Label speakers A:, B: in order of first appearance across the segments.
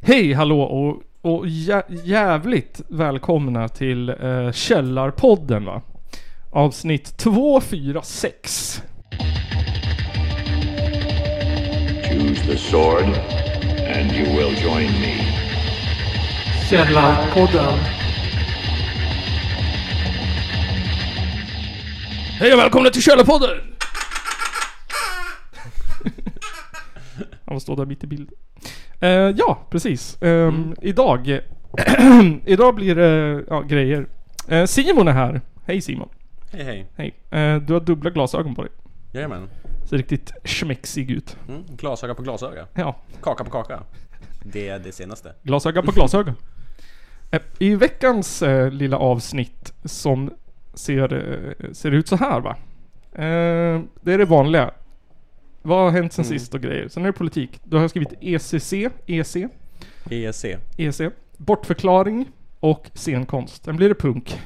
A: Hej, hallå och, och jä jävligt välkomna till eh, Källarpodden va? Avsnitt 246.
B: Choose the sword, and you will join me.
A: Källarpodden. Hej och välkomna till Källarpodden! Han får stå där mitt i bild. Eh, ja, precis. Ehm, Idag Idag blir det ja, grejer. Eh, Simon är här. Hej Simon.
C: Hej hej.
A: Hej. Eh, du har dubbla glasögon på dig.
C: Jajamän.
A: Ser riktigt schmexig ut.
C: Mm. Glasöga på glasöga.
A: Ja,
C: Kaka på kaka. Det är det senaste.
A: Glasöga på glasöga. Eh, I veckans eh, lilla avsnitt som ser, eh, ser ut så här va. Eh, det är det vanliga. Vad har hänt sen
C: Mm.
A: sist och grejer. Sen är det politik. Då har jag skrivit E ECC, EC,
C: ESC.
A: EC. E Bortförklaring och scenkonst. Sen blir det punk.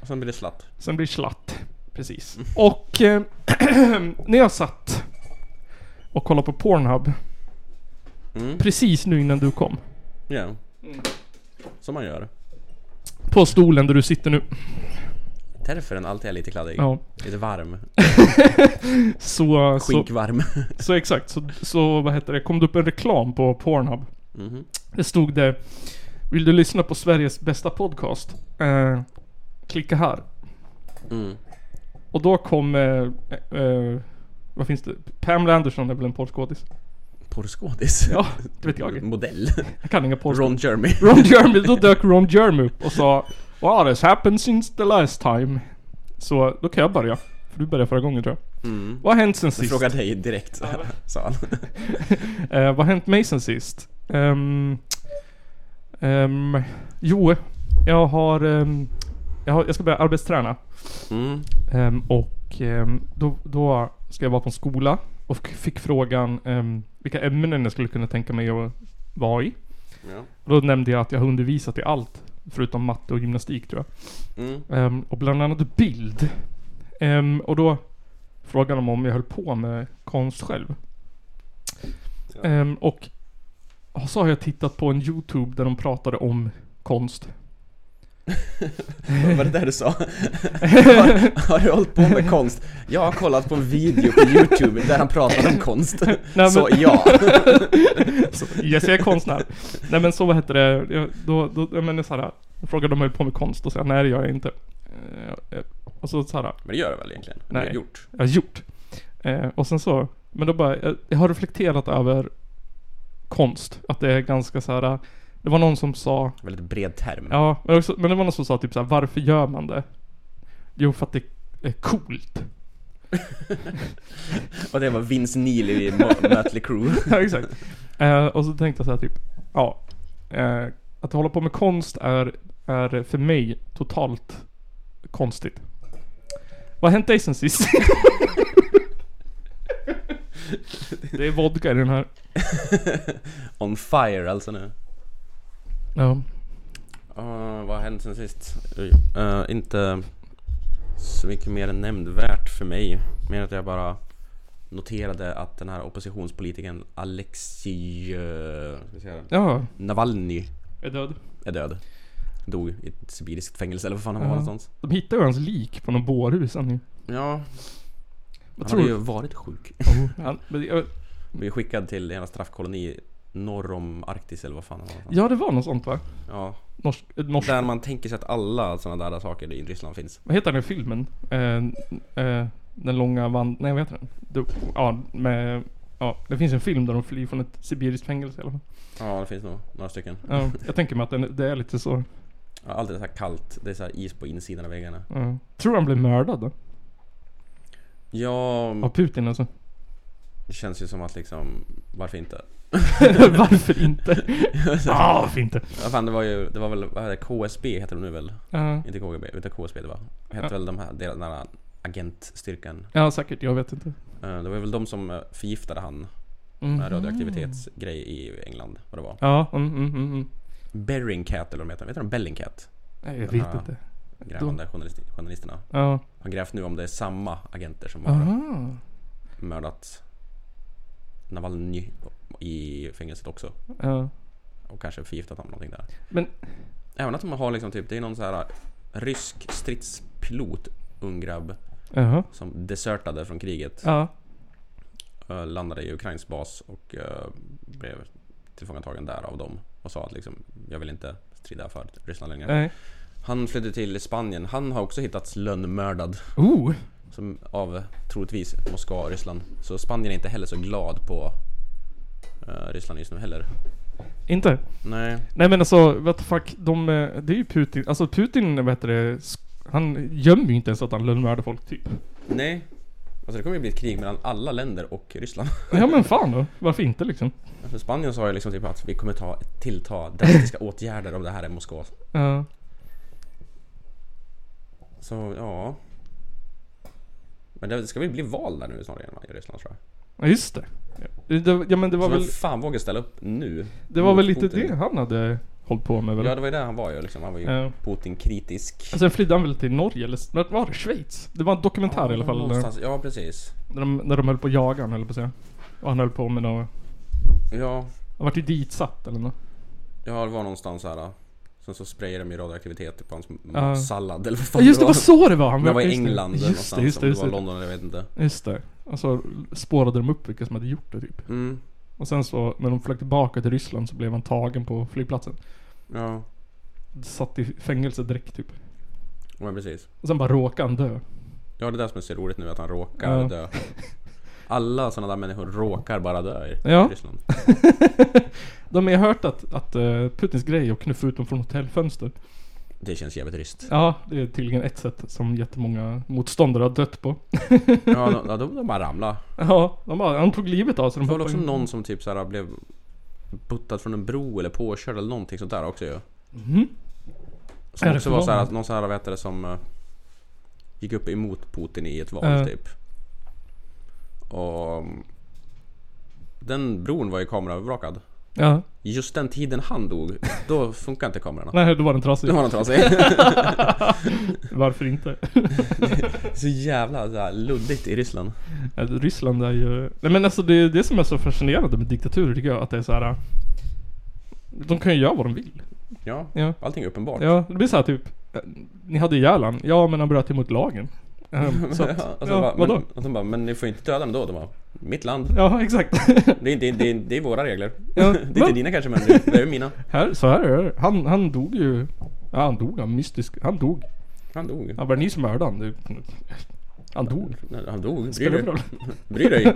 C: Och sen blir det slatt.
A: Sen blir det slatt. Precis. Och eh, när jag satt och kollade på Pornhub
C: Mm.
A: precis nu innan du kom.
C: Ja.
A: Mm.
C: Som man gör.
A: På stolen där du sitter nu.
C: Därför den alltid är lite kladdig.
A: Ja.
C: Lite varm.
A: Så, så,
C: Skinkvarm.
A: Så exakt, så, så vad heter det, kom det upp en reklam på Pornhub.
C: Mhm.
A: Det stod det Vill du lyssna på Sveriges bästa podcast? Eh, klicka här.
C: Mm.
A: Och då kom, eh, eh, vad finns det? Pamela Anderson är väl en porrskådis?
C: Porrskådis.
A: Ja, det vet jag.
C: Modell.
A: Jag kan inga porrskådisar.
C: Ron Jeremy.
A: Ron Jeremy, då dök Ron Jeremy upp och sa Wow, this happened since the last time. Så då kan jag börja. För du började förra gången tror jag.
C: Mm.
A: Vad har hänt sen
C: Jag
A: sist?
C: frågar dig direkt. Sa han.
A: Eh, vad har hänt mig sen sist? Ehm, ehm, jo, jag har, ehm, jag har... Jag ska börja arbetsträna.
C: Mm.
A: Ehm, och ehm, då, då ska jag vara på en skola och fick frågan ehm, vilka ämnen jag skulle kunna tänka mig att vara i.
C: Ja.
A: Och då nämnde jag att jag har undervisat i allt, förutom matte och gymnastik tror jag.
C: Mm.
A: Ehm, och bland annat bild. Ehm, och då frågade de om jag höll på med konst själv.
C: Ja.
A: Ehm, och så har jag tittat på en YouTube där de pratade om konst.
C: Var det där du sa? Har, har du hållit på med konst? Jag har kollat på en video på Youtube där han pratar om konst.
A: men-
C: Så ja.
A: Yes, jag är konstnär. nej men så vad heter det, jag, då, då, jag menar såhär, jag frågade om jag höll på med konst och sa nej det gör jag inte. Eh, eh, och så såhär,
C: Men det gör det väl egentligen? Det
A: Nej.
C: är gjort.
A: jag har gjort. Eh, och sen så, men då bara, jag, jag har reflekterat över konst, att det är ganska såhär, det var någon som sa,
C: Väldigt bred term.
A: Ja, men, också, men det var någon som sa typ såhär, varför gör man det? Jo, för att det är coolt.
C: Och det var Vince Neil i Mo- Mötley Crüe.
A: ja, exakt. Eh, och så tänkte jag såhär typ, ja. Eh, att hålla på med konst är, är för mig totalt konstigt. Vad har hänt dig sen sist? det är vodka i den här.
C: On fire alltså nu.
A: Ja.
C: Ah, vad har hänt sen sist? Oj. Eh, inte så mycket mer än nämnvärt för mig. Mer att jag bara noterade att den här oppositionspolitikern Alexej eh, ska vi säga det?
A: Ja,
C: Navalny
A: jag är död.
C: är död. Dog i ett sibiriskt fängelse eller vad fan han
A: Ja.
C: var någonstans.
A: De hittade ju hans lik på någon bårhus. Han, ju. Vad
C: Ja, han hade
A: tror
C: ju
A: du?
C: varit sjuk.
A: Han, men jag-
C: Blev skickad till en straffkoloni norr om Arktis eller vad fan han var någonstans.
A: ja, det var något sånt va?
C: Ja,
A: Norsk, eh, norsk
C: Där man tänker sig att alla sådana där saker i Ryssland finns.
A: Vad heter den här filmen? Eh, eh, den långa vand... Nej vad heter den? Du, ja, med, ja, det finns en film där de flyr från ett sibiriskt fängelse i alla fall.
C: Ja, det finns nog några stycken.
A: Ja, jag tänker mig att den, det är lite så.
C: Ja, Allt är så här kallt, det är så här is på insidan av väggarna.
A: ja. Tror han blev mördad då?
C: Ja,
A: Av Putin alltså?
C: det känns ju som att liksom, varför inte?
A: Varför inte? ah, varför inte?
C: Ja, fan, det var ju, det var väl, vad heter det, KSB heter de nu väl?
A: Ja.
C: Inte KGB, utan KSB det var. Hette
A: Ja.
C: väl de här, den här agentstyrkan.
A: ja, säkert. Jag vet inte.
C: Eh, Det var väl de som eh, förgiftade han
A: Mm.
C: med radioaktivitetsgrej i England, vad det var.
A: Ja, mm, mm, mm, mm.
C: Bellingcat eller vad de heter, vet de Bellingcat?
A: Nej, jag vet
C: Ja.
A: inte.
C: Grävande journalister, journalisterna.
A: Ja.
C: Har grävt nu om det är samma agenter som har
A: Aha.
C: mördat Navalny i fängelset också.
A: Ja.
C: och kanske förgiftat honom någonting där.
A: Men-
C: Även att de har liksom typ, det är någon så här rysk stridspilot, ung grabb,
A: Jaha.
C: som desertade från kriget.
A: Ja.
C: eh, landade i Ukrains bas och eh, blev tillfångatagen där av dem. Och sa att liksom, jag vill inte strida för Ryssland längre.
A: Nej.
C: Han flydde till Spanien. Han har också hittats lönnmördad.
A: Oh!
C: Som av troligtvis Moskva och Ryssland. Så Spanien är inte heller så glad på eh, Ryssland just nu heller.
A: Inte?
C: Nej.
A: Nej men alltså, what the fuck. De, eh, det är ju Putin. Alltså Putin, vad heter det? sk- Han gömmer ju inte ens att han lönnmördar folk typ.
C: Nej. Alltså det kommer ju bli ett krig mellan alla länder och Ryssland.
A: Ja men fan då. Varför inte liksom?
C: För Spanien sa ju liksom typ att vi kommer ta tillta drastiska åtgärder om det här är Moskva.
A: Ja.
C: Så ja. Men det ska väl bli val där nu snarare i Ryssland tror jag.
A: Ja, just det. Ja, det. Ja men det var
C: så
A: väl,
C: vem fan vågar ställa upp nu?
A: det var
C: mot
A: väl lite
C: Putin?
A: det han hade hållit på med väl?
C: Ja det var ju där han var ju liksom. Han var ju
A: Ja. Alltså,
C: Putin-kritisk.
A: Sen flydde han väl till Norge eller s- vart var det? Schweiz? Det var en dokumentär i alla fall. Där
C: Någonstans- Ja precis.
A: där de, när de höll på att jaga han höll på att säga. Och han höll på med något.
C: Ja,
A: Han vart ju ditsatt eller något.
C: ja det var någonstans här. Sen så sprayade de ju radioaktivitet på hans
A: Ja.
C: matsallad eller
A: Ja
C: vad fan
A: just det, var så det var! Han
C: Men det var i
A: just
C: England eller
A: Just det,
C: någonstans.
A: just det, just
C: Om det var
A: det.
C: London eller jag vet inte.
A: Just det. Och så spårade de upp vilka som hade gjort det typ.
C: Mm.
A: Och sen så när de flög tillbaka till Ryssland så blev han tagen på flygplatsen.
C: Ja,
A: Satt i fängelse direkt typ.
C: men precis.
A: Och sen bara råkade han dö.
C: Ja det är det som är så roligt nu att han råkar
A: Ja.
C: dö. Alla sådana där människor råkar bara dö i
A: Ja.
C: Ryssland.
A: De har ju hört att, att eh, Putins grej är att knuffa ut dem från hotellfönster.
C: Det känns jävligt trist.
A: Ja, det är tydligen ett sätt som jättemånga motståndare har dött på.
C: Ja, de, de, de bara ramlade.
A: Ja, de bara, han tog livet av sig. De
C: Det var väl
A: hoppade
C: också
A: in.
C: någon som typ såhär blev buttad från en bro eller påkörd eller någonting sånt där också ju.
A: Mhm.
C: Som
A: Är det
C: också var såhär,
A: förvånande?
C: någon såhär vad heter det som eh, gick upp emot Putin i ett val
A: Ja.
C: typ. Och mm, den bron var ju kameraövervakad.
A: Ja,
C: Just den tiden han dog, då funkar inte kamerorna.
A: nej då var den
C: Då
A: trasig.
C: var de trasig.
A: Varför inte?
C: Så jävla så här luddigt i Ryssland.
A: Ja, Ryssland är ju... Nej men alltså det är det som är så fascinerande med diktaturer tycker jag, att det är så här. äh, De kan ju göra vad de vill.
C: Ja,
A: Ja.
C: allting är uppenbart.
A: Ja, det blir så här typ. äh, Ni hade ihjäl han. Ja men han bröt emot lagen. Ehm, så att,
C: Ja, och så
A: ja,
C: bara,
A: vadå?
C: men, och så bara, men ni får inte döda dem då. De bara, mitt land.
A: Ja exakt.
C: Det är, det, är- det, är, det är våra regler.
A: Ja,
C: det är inte
A: men-
C: dina kanske men det det är mina.
A: Här, så här är det. Han, han dog ju... Ja han dog, han mystisk. Han dog.
C: Han dog.
A: Han var ni som mördade han. Det- Han dog.
C: Nej, Han dog. Bry
A: Spelar det för
C: dig.
A: roll?
C: Bry dig.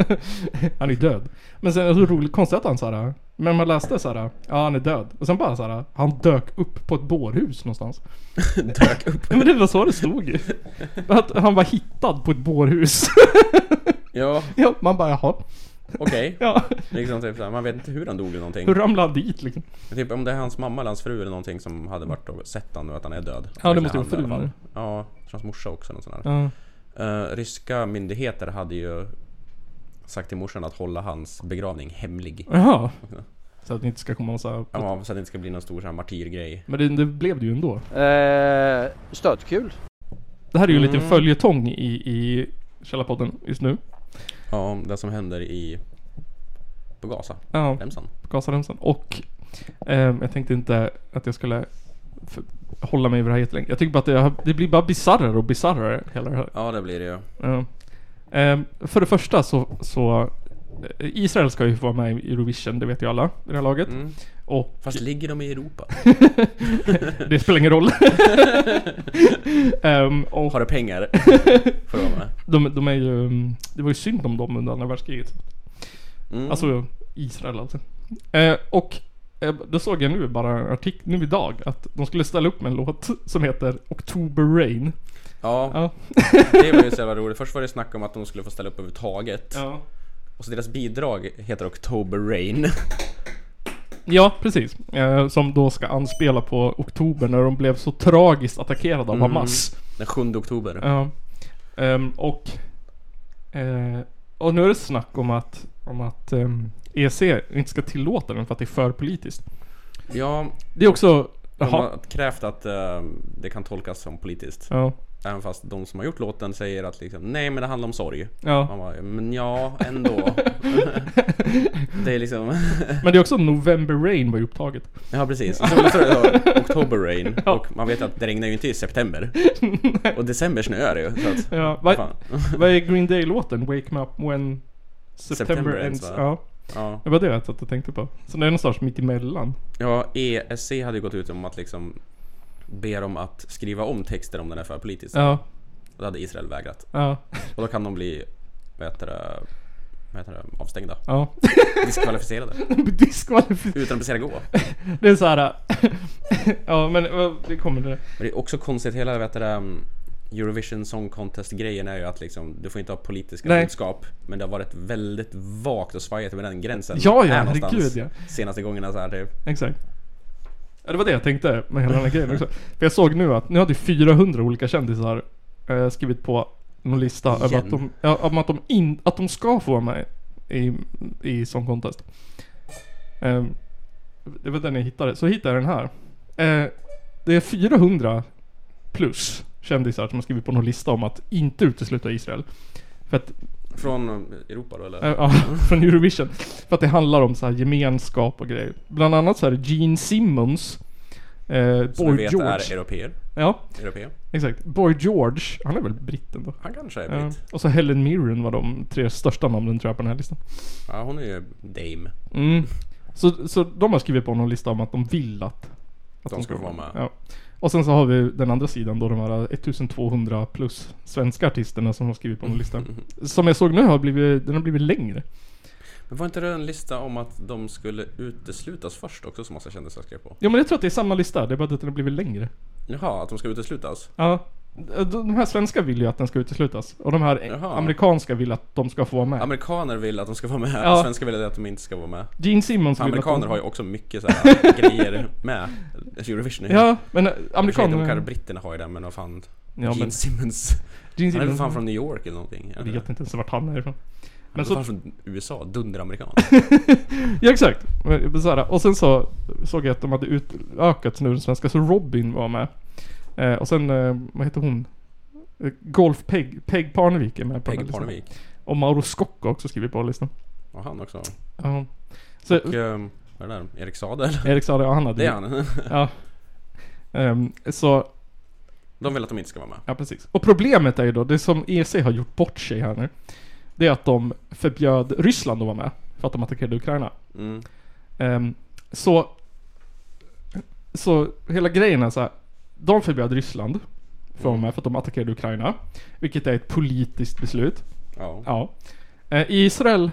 A: Han är död. Men sen är det så roligt konstigt att han såhär, men man läste såhär, ja han är död. Och sen bara såhär, han dök upp på ett bårhus någonstans.
C: Dök upp.
A: Ja, men det var så det stod ju. Att han var hittad på ett bårhus.
C: Ja,
A: ja, man bara jaha.
C: okej.
A: Ja.
C: Liksom typ såhär, man vet inte hur han dog eller någonting.
A: Hur ramlade han dit liksom?
C: Men Typ om det är hans mamma eller hans fru eller någonting som hade varit och sett han och att han är död.
A: Ja, det
C: Eller
A: måste ju
C: han
A: vara
C: i alla fall.
A: frun.
C: Ja, jag tror hans morsa också. Någon sån här.
A: Ja.
C: Eh, ryska myndigheter hade ju sagt till morsan att hålla hans begravning hemlig.
A: Jaha. Så att det inte ska komma massa...
C: Ja, så att det inte ska bli någon stor sån här martyrgrej.
A: Men det, det blev det ju ändå.
D: Eh, stötkul.
A: Det här är ju lite
C: Mm.
A: följetong i, i Källarpodden just nu.
C: Ja, om det som händer i... På Gaza.
A: Ja.
C: Remsan.
A: Gazaremsan. Och ehm, jag tänkte inte att jag skulle f- hålla mig vid det här jättelänge. Jag tycker bara att det, har- det blir bara bisarrare och bisarrare hela det här.
C: Ja, det blir det ju.
A: Ja. Ehm, för det första så, så eh, Israel ska ju få vara med i Eurovision, det vet ju alla i det här laget.
C: Mm.
A: Och
C: Fast ligger de i Europa?
A: det spelar ingen roll. Ehm, och
C: Har du pengar? Mm. För att vara med?
A: de, de är ju, mm, det var ju synd om dem under andra världskriget.
C: Mm.
A: Alltså Israel alltså. Eh, och eh, då såg jag nu bara en artikel nu idag att de skulle ställa upp med en låt som heter October Rain.
C: ja,
A: Ja.
C: det var ju så jävla roligt. Först var det snack om att de skulle få ställa upp överhuvudtaget.
A: Ja,
C: Och så deras bidrag heter October Rain.
A: precis. Eh, som då ska anspela på Oktober när de blev så tragiskt attackerade av
C: Mm.
A: Hamas.
C: Den 7 oktober.
A: Ja. Ehm, och, eh, och nu är det snack om att, om att ehm, EC inte ska tillåta den för att det är för politiskt.
C: Ja,
A: Det är också...
C: de
A: Jaha.
C: har krävt att eh, det kan tolkas som politiskt.
A: Ja.
C: Även fast de som har gjort låten säger att liksom, nej men det handlar om sorg.
A: Ja.
C: Man bara, men ja, ändå. det är liksom...
A: Men det är också November Rain var ju upptaget.
C: Ja precis. Och så står det då October Rain. Och man vet att det regnar ju inte i september. Och december snöar det ju. Så att,
A: Ja, vad,
C: fan.
A: vad är Green Day-låten? Wake Me Up When September,
C: September
A: Ends.
C: ends, va?
A: ja,
C: Ja.
A: det var det jag satt och tänkte på. Så det är någonstans mitt emellan.
C: ja, ESC hade ju gått ut om att liksom be dem att skriva om texter om den är för politisk.
A: Ja,
C: Och det hade Israel vägrat.
A: ja,
C: Och då kan de bli, vad heter det, vad heter det avstängda.
A: ja.
C: Diskvalificerade.
A: Diskvalif-
C: Utan att precis gå.
A: det är såhär... ja, men eh, det kommer det.
C: Men det är också konstigt, hela vet du, det, um, Eurovision Song Contest grejen är ju att liksom, du får inte ha politiska
A: Nej.
C: budskap Men det har varit väldigt vagt och svajigt med den gränsen
A: Ja, ja,
C: är någonstans
A: herregud, ja.
C: Senaste gångerna så här typ
A: Exakt. Ja, det var det jag tänkte med hela den här grejen också. För jag såg nu att nu hade 400 olika kändisar eh, skrivit på någon lista över
C: Igen.
A: att de, ja, om att, de in, att de ska få vara med i, i Song Contest. Eh, det var den jag hittade. Så hittade jag den här. Eh, det är 400 plus kändisar som har skrivit på någon lista om att inte utesluta Israel. För att
C: Från mm, Europa då eller?
A: Eh, Ja, från Eurovision. För att det handlar om så här gemenskap och grejer. Bland annat så här Gene Simmons. Eh,
C: Som vi
A: Boy
C: vet är
A: George.
C: europeer
A: Ja,
C: Europeer?
A: exakt. Boy George. Han är väl britt ändå?
C: Han kanske är
A: Ja.
C: britt
A: Och så Helen Mirren var de tre största namnen tror jag på den här listan.
C: ja. hon är ju dame
A: Mm. Så, så de har skrivit på någon lista om att de vill att, att
C: De ska få vara med
A: Ja. Och sen så har vi den andra sidan då de här 1200 plus svenska artisterna som har skrivit på någon lista.
C: Mhm.
A: Som jag såg nu har blivit, den har blivit längre.
C: Men var inte det en lista om att de skulle uteslutas först också som massa kändisar skrev på?
A: Ja men jag tror att det är samma lista, det är bara att den har blivit längre.
C: Jaha, att de ska uteslutas?
A: Ja. De de här svenska vill ju att den ska uteslutas. Och de här
C: Jaha.
A: amerikanska vill att de ska få vara med.
C: Amerikaner vill att de ska vara med,
A: Ja.
C: svenskar vill att de inte ska vara med
A: Gene Simmons vill att
C: Amerikaner
A: de...
C: har ju också mycket så här grejer med Eurovision
A: Ja, men eh,
C: Amerikaner...
A: amerikaner...
C: De kanske britterna har ju det men vad fan
A: ja,
C: Gene
A: men
C: Simmons
A: Gene
C: Han är väl
A: Simmons...
C: fan från New York eller någonting?
A: Jag vet inte ens vart han är ifrån.
C: Men
A: Men
C: så...
A: så...
C: fan från USA, dunderamerikan
A: Ja exakt. Men, men så här, och sen så såg jag att de hade utökat nu den svenska, så Robin var med. Eh, och sen, eh, vad heter hon? Eh, Golf Peg, Peg Parnevik är med på den
C: Peg
A: här listan.
C: Parnevik
A: Och Mauro Scocco har också skrivit på listan.
C: Och han också
A: Ja. Så
C: Och, ehm, vad är det där? Erik Saade eller?
A: Erik sa det, ja han hade
C: Det är han
A: Ja. Ehm, så,
C: De vill att de inte ska vara med
A: ja precis. Och problemet är ju då, det som EC har gjort bort sig här nu. Det är att de förbjöd Ryssland att vara med. För att de attackerade Ukraina.
C: mm.
A: Ehm, så... Så hela grejen är så här. De förbjöd Ryssland. För att vara
C: Mm.
A: med för att de attackerade Ukraina. Vilket är ett politiskt beslut.
C: Ja,
A: Ja. Eh, Israel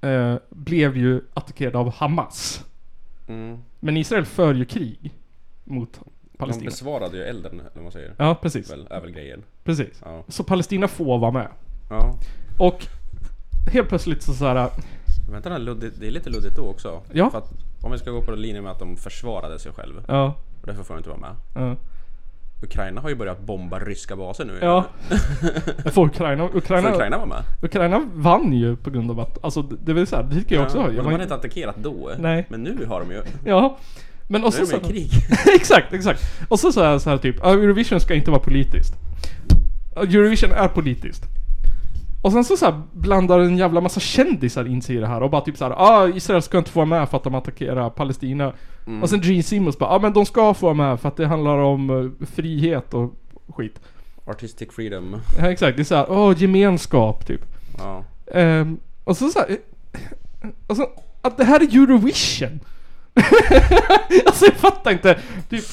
A: eh, blev ju attackerade av Hamas.
C: mm.
A: Men Israel för ju krig. Mot
C: De
A: Palestina.
C: besvarade ju elden eller vad man säger
A: Ja, precis.
C: Väl, är väl grejen
A: Precis.
C: Ja,
A: Så Palestina får vara med.
C: ja.
A: Och helt plötsligt så såhär,
C: Vänta det är luddigt, det är lite luddigt då också
A: Ja.
C: För att om vi ska gå på den linjen med att de försvarade sig själv
A: ja,
C: Och därför får de inte vara med
A: ja.
C: Ukraina har ju börjat bomba ryska baser nu
A: ja. För Ukraina,
C: Får
A: Ukraina,
C: Ukraina vara med?
A: Ukraina vann ju på grund av att, alltså det det var ju såhär, det tycker jag också.
C: Ja,
A: jag
C: men de
A: var
C: hade inte attackerat då.
A: Nej.
C: Men nu har de ju. Nu
A: ja. Men och så,
C: är
A: så
C: de i krig.
A: Exakt, exakt. Och så såhär, såhär typ, "Ja, Eurovision ska inte vara politiskt. Ja, Eurovision är politiskt. Och sen så, så här blandar en jävla massa kändisar in sig i det här och bara typ såhär ah, Israel ska inte få vara med för att de attackerar Palestina.
C: Mm.
A: Och sen Gene Simmons bara ah, men de ska få vara med för att det handlar om eh, frihet och skit.
C: Artistic freedom.
A: Ja, exakt, det är såhär åh gemenskap typ.
C: Ja.
A: Ehm, och så såhär... Och så, att det här är Eurovision! alltså jag fattar inte. Typ,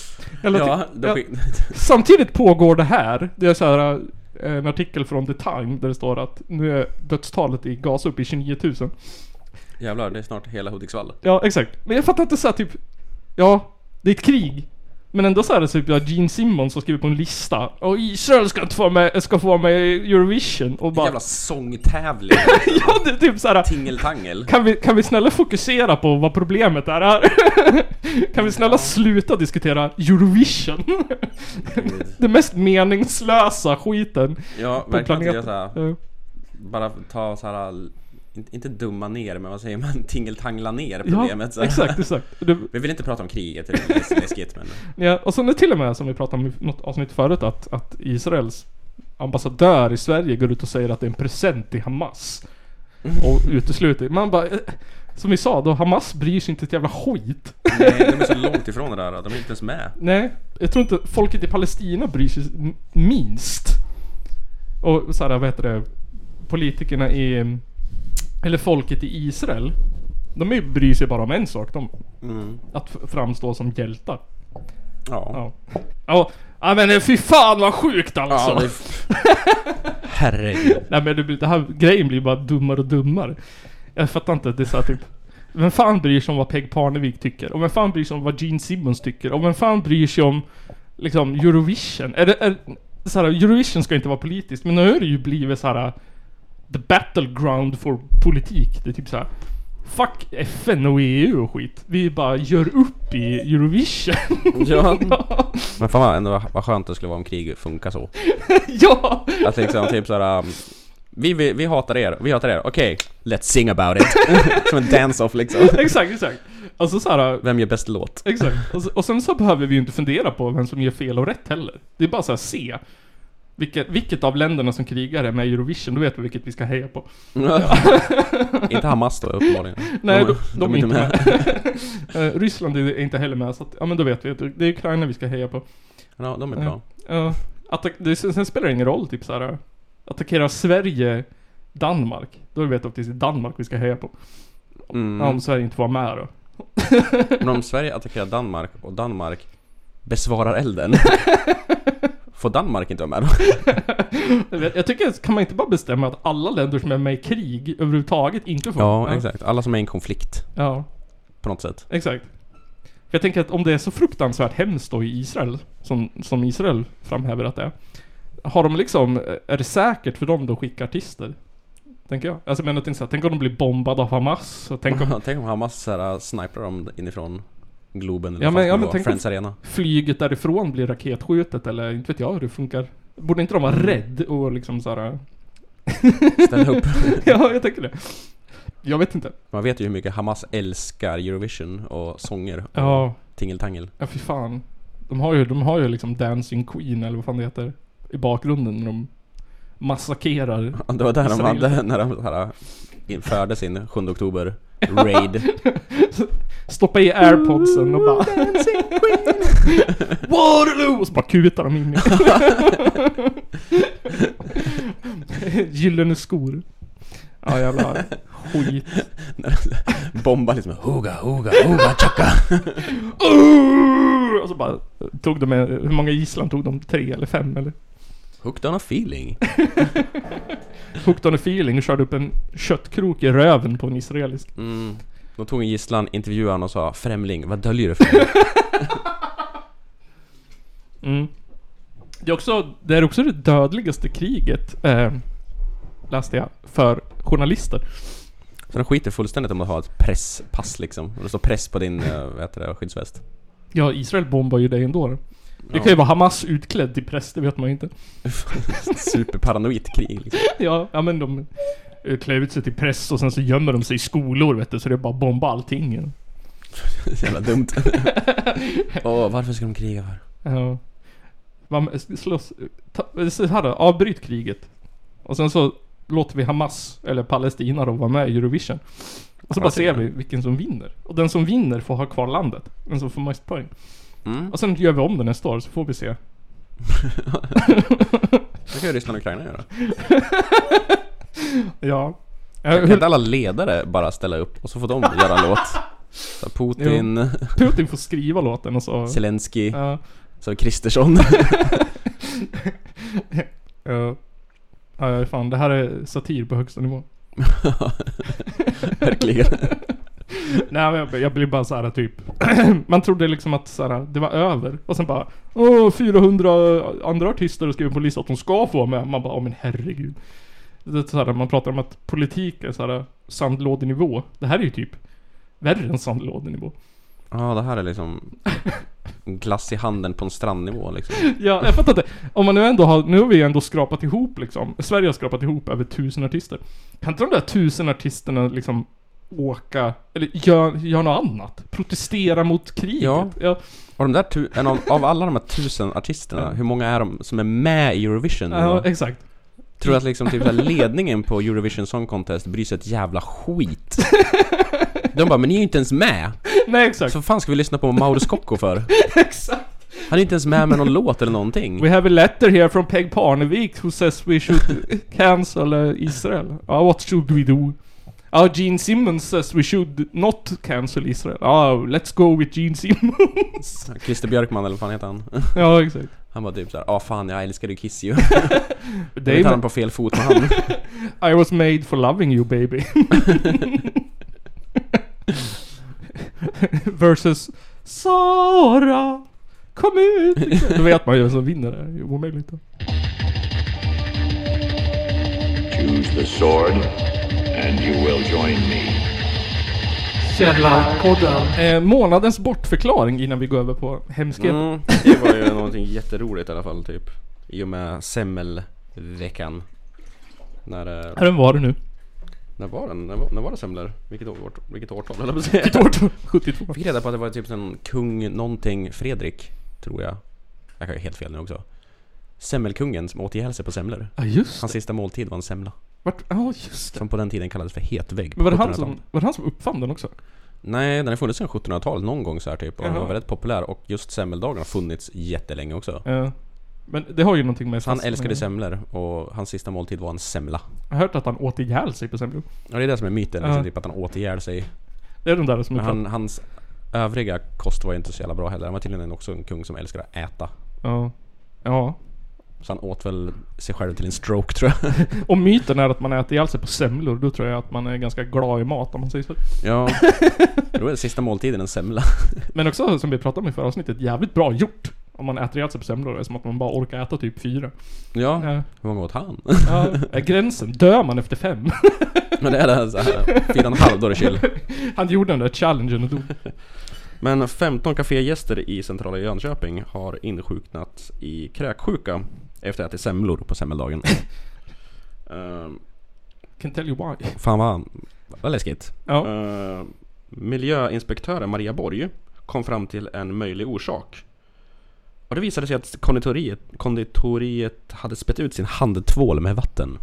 A: eller
C: Ja,
A: typ,
C: då
A: ja,
C: sk-
A: Samtidigt pågår det här. Det är så här eh, en artikel från The Time där det står att nu är dödstalet i Gaza uppe i 29 000.
C: Jävlar, det är snart hela Hudiksvall.
A: Ja, exakt. Men jag fattar inte så här typ... Ja, det är ett krig. Men ändå så är det typ ja, Gene Simmons som skriver på en lista. Och Israel ska inte få vara med, ska få vara med i Eurovision. Och
C: Vilken
A: bara...
C: jävla sångtävling.
A: Ja, det är typ så här...
C: Tingeltangel.
A: Kan vi, kan vi snälla fokusera på vad problemet är här? kan vi snälla sluta diskutera Eurovision? det mest meningslösa skiten.
C: Ja, verkligen.
A: planeten.
C: Jag, så här,
A: Eh,
C: bara ta så här in- inte dumma ner, men vad säger man? Tingeltangla ner
A: Ja,
C: problemet. så.
A: exakt, exakt. Det,
C: Vi vill inte prata om kriget, det är läskigt men...
A: ja, och sen är det till och med som vi pratade om i något avsnitt förut att, att Israels ambassadör i Sverige går ut och säger att det är en present till Hamas.
C: Mm.
A: Och utesluter. Man bara... eh, Som vi sa då, Hamas bryr sig inte ett jävla skit.
C: Nej, de är så långt ifrån det där, de är inte ens med.
A: Nej, jag tror inte folket i Palestina bryr sig m- minst. Och såhär, vad heter det? Politikerna i... Eller folket i Israel. De är- bryr sig bara om en sak. De,
C: Mm.
A: att f- framstå som hjältar.
C: Ja.
A: Ja. Ja, ja men eh, fy fan vad sjukt alltså!
C: ja det... Herregud.
A: Nej men det, blir- det här grejen blir bara dummare och dummare. Jag fattar inte, det är såhär typ... Vem fan bryr sig om vad Peg Parnevik tycker? Och vem fan bryr sig om vad Gene Simmons tycker? Och vem fan bryr sig om liksom Eurovision? Är det, är, så här, Eurovision ska inte vara politiskt, men nu har det ju blivit så här. The battleground for politik. Det är typ så här. Fuck FN och EU och skit. Vi bara gör upp i Eurovision.
C: Ja. Men fan vad, ändå, vad skönt det skulle vara om krig funkar så.
A: ja!
C: Att liksom typ såhär... Um, vi, vi, vi hatar er, vi hatar er, okej. Let's sing about it. Som en dance-off liksom.
A: Exakt, exakt. Alltså så här,
C: Vem gör bäst låt?
A: Exakt. Och, s- och sen så behöver vi ju inte fundera på vem som gör fel och rätt heller. Det är bara så här, se. Vilket, vilket av länderna som krigar är med i Eurovision, då vet vi vilket vi ska heja på.
C: inte Hamas då uppenbarligen.
A: Nej, de, de, är inte med. Eh, Ryssland är inte heller med, så att, ja men då vet vi. att Det är Ukraina vi ska heja på.
C: Ja, de är bra.
A: Ja, attack, det, sen, sen spelar det ingen roll, typ så här. Attackerar Sverige Danmark, då vet vi att det är Danmark vi ska heja på. Ja,
C: Mm.
A: om Sverige inte får vara med då.
C: Men om Sverige attackerar Danmark och Danmark besvarar elden. Får Danmark inte vara med då?
A: Jag, vet, jag tycker, kan man inte bara bestämma att alla länder som är med i krig överhuvudtaget inte får
C: Ja, exakt. Alla som är i en konflikt
A: Ja,
C: på något sätt.
A: exakt. För jag tänker att om det är så fruktansvärt hemskt då i Israel, som, som Israel framhäver att det är. Har de liksom, är det säkert för dem då att skicka artister? Tänker jag. Alltså men jag tänker så här, tänk om de blir bombade av Hamas? Och tänk om
C: Tänk om Hamas så här, äh, sniprar dem inifrån Globen eller
A: Ja,
C: vad
A: men-
C: fan
A: ja,
C: det
A: men
C: var,
A: tänk om-
C: Friends Arena.
A: flyget därifrån blir raketskjutet eller inte vet jag hur det funkar. Borde inte de vara rädd och liksom såhär...
C: Ställ Mm. upp.
A: ja, jag tänker det. Jag vet inte.
C: Man vet ju hur mycket Hamas älskar Eurovision och sånger och
A: Ja,
C: tingeltangel.
A: ja fy fan. De har, ju, de har ju liksom Dancing Queen eller vad fan det heter. I bakgrunden när de massakrerar
C: Ja, Det var där de
A: Israel.
C: hade när de så här, äh, införde sin 7 oktober raid.
A: Stoppa i airpodsen och bara... Waterloo! Och så bara kutar de in i- Gyllene skor. Ja jävla skit.
C: Bomba liksom Hoga, hoga, hoga, chaka.
A: Urr! Och så bara tog de med, hur många gisslan tog de? Tre eller fem eller?
C: Hooked on a feeling.
A: Hooked on a feeling och körde upp en köttkrok i röven på en israelisk.
C: Mm. De tog en gisslan, intervjuade honom och sa Främling, vad döljer du för mig?
A: Mm. Det är också, det är också det dödligaste kriget, eh, läste jag, för journalister.
C: Så de skiter fullständigt om att ha ett presspass liksom. Och det står press på din, eh, vad heter det, skyddsväst.
A: Ja, Israel bombar ju dig ändå. då. Det kan ju vara Hamas utklädd till präst, det vet man ju inte.
C: Superparanoid krig liksom.
A: Ja, ja men de eh, klär ut sig till präst och sen så gömmer de sig i skolor vet du, så det är bara att bomba allting.
C: Jävla dumt. Åh, varför ska de kriga för?
A: Ja. Man slåss... Ta, så här då, avbryt kriget. Och sen så låter vi Hamas, eller Palestina då, vara med i Eurovision. Och så bara
C: Ja, det tycker
A: ser vi vilken som vinner. Och den som vinner får ha kvar landet. Den som får mest poäng.
C: Mm.
A: Och sen gör vi om den nästa år så får vi se.
C: Det kan ju Ryssland och Ukraina göra.
A: Ja. Ja,
C: Kan inte
A: hur-
C: alla ledare bara ställa upp och så får de göra en låt? Så Putin,
A: Putin får skriva låten och så...
C: Zelensky,
A: Ja.
C: så Kristersson.
A: Ja. Ja, fan det här är satir på högsta nivå.
C: Verkligen.
A: Nej men jag, jag blir bara så här typ Man trodde liksom att så här, det var över och sen bara Åh 400 andra artister har skrivit på listan att de ska få vara med Man bara åh men herregud det är så här, Man pratar om att politik är så här sandlådenivå Det här är ju typ Värre än sandlådenivå
C: Ja, det här är liksom glass i handen på en strandnivå liksom.
A: Ja, jag fattar inte. Om man nu ändå har, nu har vi ändå skrapat ihop liksom. Sverige har skrapat ihop över tusen artister. Kan inte de där tusen artisterna liksom åka, eller gör, gör något annat? Protestera mot kriget?
C: Ja.
A: ja.
C: Och de där tu- en av, av alla de här tusen artisterna, hur många är de som är med i Eurovision? nu
A: ja,
C: då?
A: exakt.
C: Tror du att liksom typ så här ledningen på Eurovision Song Contest bryr sig ett jävla skit? De bara 'Men ni är ju inte ens med!
A: Nej, exakt.
C: Så vad fan ska vi lyssna på Mauro Scocco för?
A: exakt.
C: Han är inte ens med med någon låt eller någonting!
A: We have a letter here from Peg Parnevik who says we should cancel uh, Israel. Uh, what should we do? Uh, Gene Simmons says we should not cancel Israel. Uh, let's go with Gene Simmons.
C: Christer Björkman eller vad fan heter han?
A: ja, exakt.
C: Han bara typ såhär 'Ah fan, jag älskar ju Kiss ju' Jag vet
A: Dave,
C: han på fel fot med han.
A: I was made for loving you baby. Versus Sara, kom ut! Då vet man ju vem som vinner det här. Det är omöjligt.
B: Choose the sword, and you will join me.
E: Källarpodden.
A: Eh, månadens bortförklaring innan vi går över på hemskheter.
C: Mm, det var ju någonting jätteroligt i alla fall typ. I och med semmelveckan. När, eh,
A: Vem var det nu?
C: när var den? När var, när var det semlor? Vilket, år, vilket årtal höll jag på att säga.
A: År 72.
C: fick reda på att det var typ en kung någonting Fredrik, tror jag. Jag kan ju helt fel nu också. Semmelkungen som åt ihjäl sig på semlor.
A: Ja just
C: Hans
A: det.
C: sista måltid var en semla.
A: Vart, ja just det.
C: Som på den tiden kallades för hetvägg.
A: Men var det, han
C: 1700-talet.
A: som, var det han som uppfann den också?
C: Nej, den har funnits sedan 1700-talet någon gång så här typ. Och den
A: Jaha.
C: var väldigt populär. Och just semmeldagen har funnits jättelänge också.
A: Eh, men det har ju någonting med...
C: Han
A: fast-
C: älskade
A: eh,
C: semlor och hans sista måltid var en semla.
A: Jag har hört att han åt ihjäl sig på semlor.
C: Och det är det som är myten, liksom,
A: Ja.
C: typ att han åt ihjäl sig.
A: Det är den där som
C: Men
A: uppfann.
C: han, hans övriga kost var ju inte så jävla bra heller. Han var tydligen också en kung som älskade att äta.
A: Ja. Ja.
C: Så han åt väl sig själv till en stroke tror jag.
A: Om myten är att man äter ihjäl sig på semlor, då tror jag att man är ganska glad i mat om man säger så.
C: Ja, då är sista måltiden en semla.
A: Men också som vi pratade om i förra avsnittet, jävligt bra gjort. Om man äter ihjäl sig på semlor, det är som att man bara orkar äta typ fyra.
C: Ja,
A: Ja.
C: hur många åt han?
A: Ja. Är gränsen, dör man efter fem?
C: Men det är det här, så här, fyra och en halv, då är det chill.
A: Han gjorde den där challengen och dog.
C: Men 15 kafégäster i centrala Jönköping har insjuknat i kräksjuka efter att ha ätit semlor på semmeldagen. Ehm,
A: Can tell you why.
C: fan vad, vad läskigt.
A: Ja.
C: Eh, miljöinspektören Maria Borg kom fram till en möjlig orsak. Och det visade sig att konditoriet, konditoriet hade spett ut sin handtvål med vatten.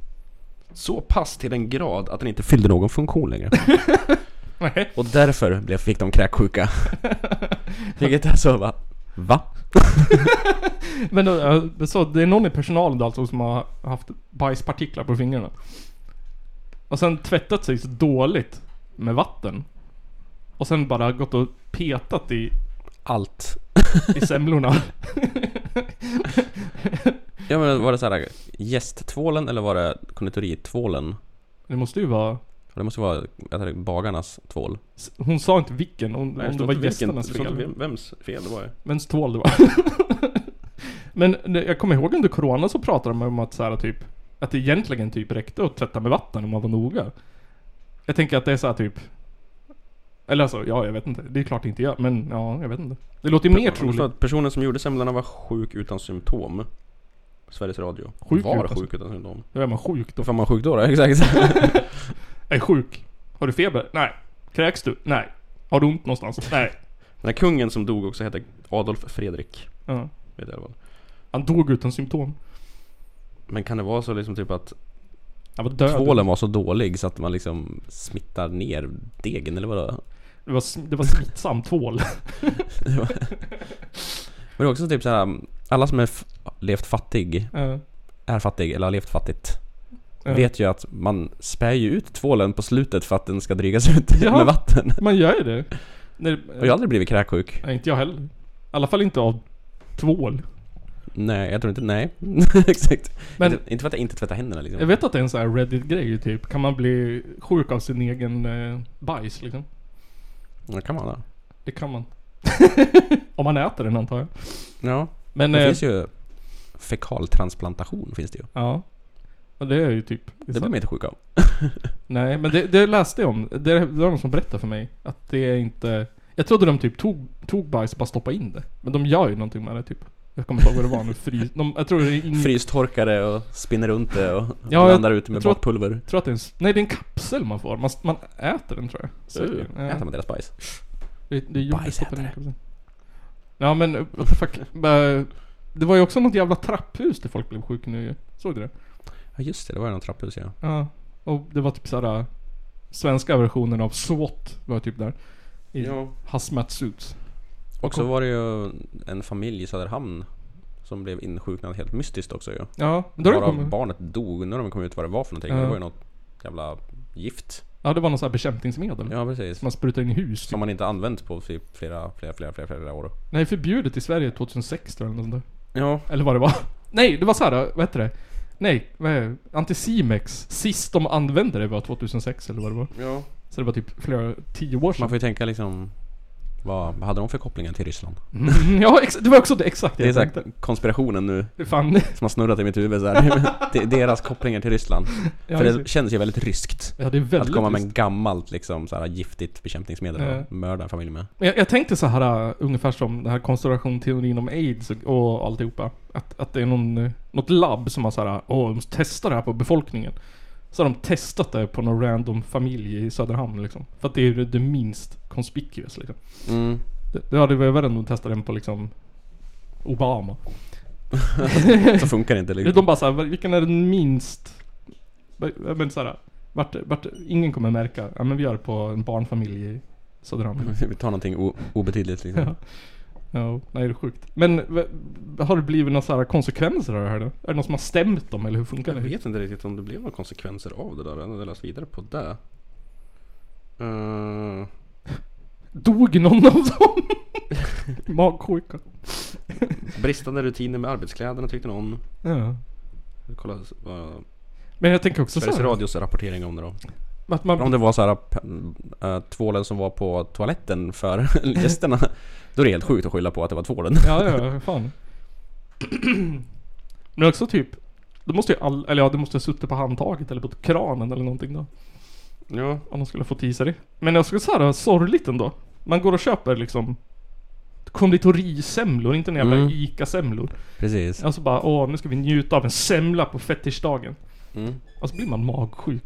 C: Så pass till den grad att den inte fyllde någon funktion längre.
A: Nej.
C: Och därför blev, fick de kräksjuka. Vilket alltså är så va? Va?
A: Men då, eh, så det är någon i personalen alltså som har haft bajspartiklar på fingrarna. Och sen tvättat sig så dåligt med vatten. Och sen bara gått och petat i,
C: Allt.
A: i semlorna.
C: Ja men var det så här gästtvålen eller var det konditoritvålen?
A: Det måste ju vara...
C: Det måste vara jag tror, bagarnas tvål.
A: Hon sa inte vilken, om, om det
C: står
A: var
C: inte vilken-
A: gästernas
C: det står inte
A: fel.
C: vem- Vems fel det var det?
A: Vems tvål det var. Men det- jag kommer ihåg under corona så pratade de om att så här, typ... Att det egentligen typ räckte att tvätta med vatten om man var noga. Jag tänker att det är så här typ... Eller alltså, ja jag vet inte. Det är klart det inte gör, men ja, jag vet inte. Det låter ju mer
C: Så
A: troligt.
C: att personen som gjorde semlorna var sjuk utan symptom. Sveriges Radio.
A: Sjuk
C: var
A: utan-
C: sjuk utan symptom.
A: Då är man sjuk då.
C: Då får man sjuk då, då? Exakt.
A: Jag är sjuk. Har du feber? Nej. Kräks du? Nej. Har du ont någonstans? Nej.
C: Den här kungen som dog också hette Adolf Fredrik.
A: Ja.
C: Vet jag vad.
A: Han dog utan symptom.
C: Men kan det vara så liksom typ att
A: Han var död.
C: tvålen var så dålig så att man liksom smittar ner degen eller vadå?
A: Det var, sm- det var smittsam tvål.
C: Men det är också typ så här. alla som är f- levt fattig,
A: Ja.
C: är fattig eller har levt fattigt.
A: Ja.
C: Vet ju att man spär ju ut tvålen på slutet för att den ska drygas ut
A: Ja.
C: med vatten.
A: Man gör ju det. När,
C: Och jag har aldrig blivit kräksjuk.
A: eh, Nej, inte jag heller. I alla fall inte av tvål.
C: Nej, jag tror inte, nej. Exakt.
A: Men-
C: inte, inte för att jag inte tvättar händerna liksom.
A: Jag vet att det är en sån här Reddit-grej typ. Kan man bli sjuk av sin egen eh, bajs liksom?
C: Ja, kan man det.
A: Det kan man. Om man äter den antar jag.
C: Ja.
A: Men...
C: Det
A: eh,
C: finns ju fekaltransplantation finns det ju.
A: Ja. Och det är ju typ...
C: Det blir man inte sjuk av.
A: Nej, men det, det läste jag om. Det, det var någon som berättade för mig. Att det är inte... Jag trodde de typ tog, tog bajs och bara stoppade in det. Men de gör ju någonting med det typ. Jag kommer inte ihåg vad det var nu. Fry, de, jag tror det är ingen,
C: Frystorkade och spinner runt det och
A: Mm. jag-
C: blandar ut det med
A: jag tror att-
C: bakpulver.
A: tror att det är en, s- nej det är en kapsel man får. Man, man äter den tror jag. Så,
C: Uh,
A: ja.
C: Äter man deras bajs?
A: Det, det gjordes
C: Bajsätare.
A: på den kapseln. Ja men uh, what the fuck. Eh, Det var ju också något jävla trapphus där folk blev sjuka nu ju. Såg du det?
C: Ja just det, det var ju någon trapphus ja.
A: Ja. Och det var typ såhär... Svenska versionen av SWAT var typ där. I
C: Ja.
A: hazmat suits.
C: Och så var det ju en familj i Söderhamn som blev insjuknad helt mystiskt också ju.
A: Ja, men då har det
C: Bara
A: kommit...
C: barnet dog, när de kom ut vad det var för någonting.
A: Ja.
C: Det var ju något jävla gift.
A: Ja det var någon sån här bekämpningsmedel.
C: Ja precis.
A: Som man sprutar in i hus.
C: Som man inte använt på typ flera, flera, flera, flera, flera år.
A: Nej, förbjudet i Sverige 2006 tror jag eller något sånt
C: Ja.
A: där. Eller vad det var. Nej, det var så här. vad heter det? Nej, vad är det? Anticimex. Sist de använde det var 2006 eller vad det var.
C: ja.
A: Så det var typ flera, tio år sedan.
C: Man får ju tänka liksom... Vad vad hade de för kopplingar till Ryssland?
A: Mm, ja, ex- det var också det, exakt det
C: Det är
A: jag
C: så
A: tänkte.
C: här konspirationen nu
A: Det är Fan,
C: som har snurrat i mitt huvud så här. Det är Deras kopplingar till Ryssland.
A: ja,
C: För
A: det,
C: det känns ju väldigt ryskt.
A: ja, det är väldigt
C: Att komma med
A: trist.
C: en gammalt liksom så här giftigt bekämpningsmedel
A: Ja.
C: och mörda en familj med.
A: Men Jag, jag tänkte så här äh, ungefär som den här konspirationsteorin om aids och, och alltihopa. Att, att det är någon, eh, något labb som har så här, äh, åh, vi måste testa det här på befolkningen. Så har de testat det på någon random familj i Söderhamn liksom. För att det är det, det minst conspicuous liksom.
C: Mm.
A: Det, det hade varit värre än att testa den på liksom Obama.
C: Så funkar det inte liksom.
A: De bara såhär, vilken är den minst... Jag menar såhär, vart, vart, ingen kommer märka. Ja men vi gör det på en barnfamilj i Söderhamn.
C: Vi tar någonting o- obetydligt liksom.
A: Ja. Ja, nej det är sjukt. Men v- har det blivit några så här konsekvenser av det här då? Är det någon som har stämt dem eller hur funkar det?
C: inte riktigt om det blev några konsekvenser av det där. Jag hade läst vidare på det. Eh,
A: Dog någon av dem? Magsjuka.
C: bristande rutiner med arbetskläderna tyckte någon.
A: Ja.
C: Kolla vad
A: Men jag tänker också så
C: Sveriges
A: här,
C: Radios rapportering om det då.
A: att man...
C: Om det var så här p- äh, tvålen som var på toaletten för gästerna. Då är det helt sjukt att skylla på att det var tvålen.
A: Ja, ja, ja, fan. Men också typ, då måste ju all, eller ja, det måste ha suttit på handtaget eller på kranen eller någonting då.
C: Ja.
A: Om de skulle få tisa det. Men jag skulle säga det var sorgligt ändå. Man går och köper liksom konditorisemlor, inte en jävla
C: Mm.
A: ICA-semlor.
C: Precis.
A: Alltså bara, åh nu ska vi njuta av en semla på fetischdagen.
C: Mm.
A: Och så blir man magsjuk.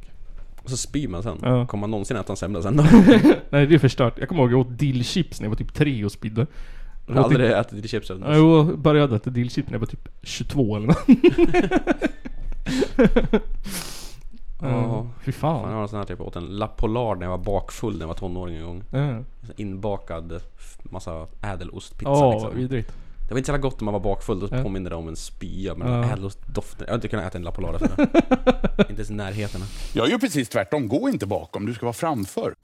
C: Och så spyr man sen.
A: Ja.
C: Kommer man någonsin äta en semla sen då?
A: Nej det är förstört. Jag kommer ihåg jag åt dillchips när jag var typ tre och spydde.
C: Jag har aldrig ätit chips av
A: Ja, Jo, jag började äta dillchips när jag var typ 22 eller nåt.
C: Ja.
A: Fy
C: Jag
A: fan.
C: har en sån här typ, jag åt en La Polar när jag var bakfull när jag var tonåring en gång.
A: Ja,
C: Inbakad f- massa ädelostpizza
A: Ja,
C: liksom.
A: vidrigt.
C: Det var inte så jävla gott när man var bakfull, då
A: Ja.
C: påminner det om en spya med
A: Ja.
C: ädelostdoften. Jag hade inte kunnat äta en La Polar efter det. Inte ens i närheten.
E: Jag gör precis tvärtom. Gå inte bakom, du ska vara framför.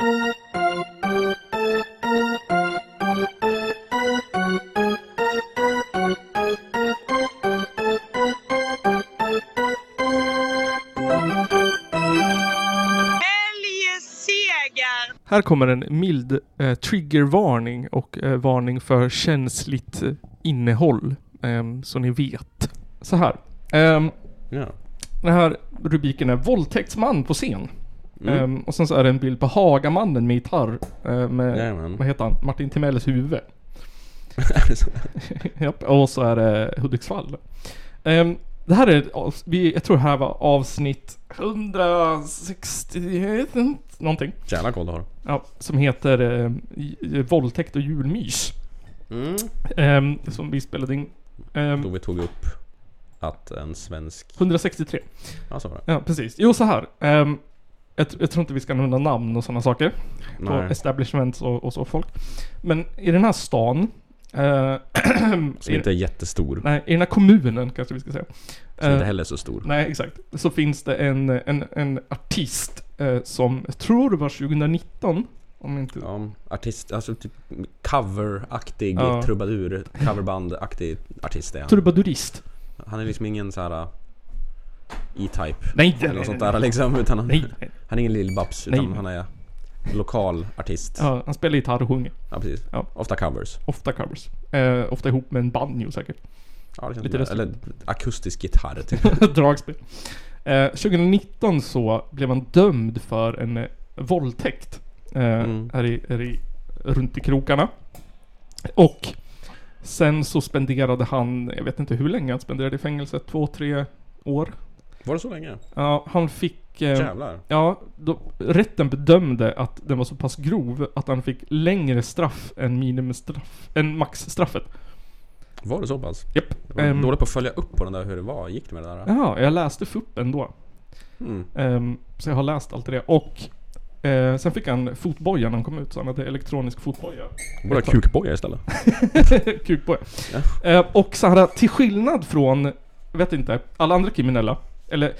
F: Välj seger!
A: Här kommer en mild eh, triggervarning och eh, varning för känsligt eh, innehåll. ehm, så ni vet. Så här. Ehm,
C: Ja.
A: Den här rubriken är Våldtäktsman på scen.
C: Mm.
A: Ehm, och sen så är det en bild på Hagamannen med gitarr. eh, med,
C: Jajamän.
A: vad heter han? Martin Timelles huvud.
C: Mm. Är det så?
A: Japp, och så är det Hudiksvall. Ehm, det här är, ett avs- vi, jag tror det här var avsnitt 161 någonting.
C: Jävla koll du har.
A: Ja, som heter eh, j- j- Våldtäkt och julmys.
C: Mm.
A: Ehm, som vi spelade in. Ehm,
C: Då vi tog upp att en svensk...
A: 163.
C: Ja, så var det.
A: Ja, precis. Jo, så här. Ehm, jag, tr- jag tror inte vi ska nämna namn och sådana saker. på
C: Nej.
A: establishments och, och så folk. Men i den här stan, eh,
C: Som inte är jättestor.
A: nej, i den här kommunen kanske vi ska säga.
C: Som inte
A: Eh,
C: heller är så stor.
A: nej, exakt. Så finns det en, en, en artist eh, som, jag tror det var 2019, om inte...
C: Ja, artist, alltså typ coveraktig
A: Ja.
C: trubadur, coverbandaktig artist är han.
A: Trubadurist.
C: Han är liksom ingen så här E-Type
A: Nej,
C: eller något sånt där liksom. Utan han,
A: Nej, nej.
C: han är ingen Lill-Babs utan
A: Nej.
C: han är lokal artist. Ja,
A: Ja, han spelar gitarr och sjunger.
C: precis.
A: Ja.
C: Ofta covers.
A: Ofta covers. Eh, ofta ihop med en banjo säkert.
C: Ja, det känns
A: Lite
C: lite
A: röst.
C: Eller akustisk gitarr typ.
A: Dragspel. Eh, 2019 så blev han dömd för en eh, våldtäkt. Eh,
C: Mm.
A: här, i, här i runt i krokarna. Och sen så spenderade han, jag vet inte hur länge han spenderade i fängelse, två, tre år.
C: Var det så länge?
A: Ja, han fick... eh,
C: Jävlar.
A: Ja, då, rätten bedömde att den var så pass grov att han fick längre straff än minimistraff, än maxstraffet.
C: Var det så pass?
A: Japp.
C: Jag var
A: Ehm,
C: dålig på att följa upp på den där hur det var. Gick det med det där?
A: Ja, jag läste FUP ändå.
C: Mm.
A: Ehm, så jag har läst allt det och eh, sen fick han fotboja när han kom ut, så han hade elektronisk fotboja.
C: Borde ha kukboja istället.
A: Kukboja. Eh, och så här, till skillnad från, vet inte, alla andra kriminella, eller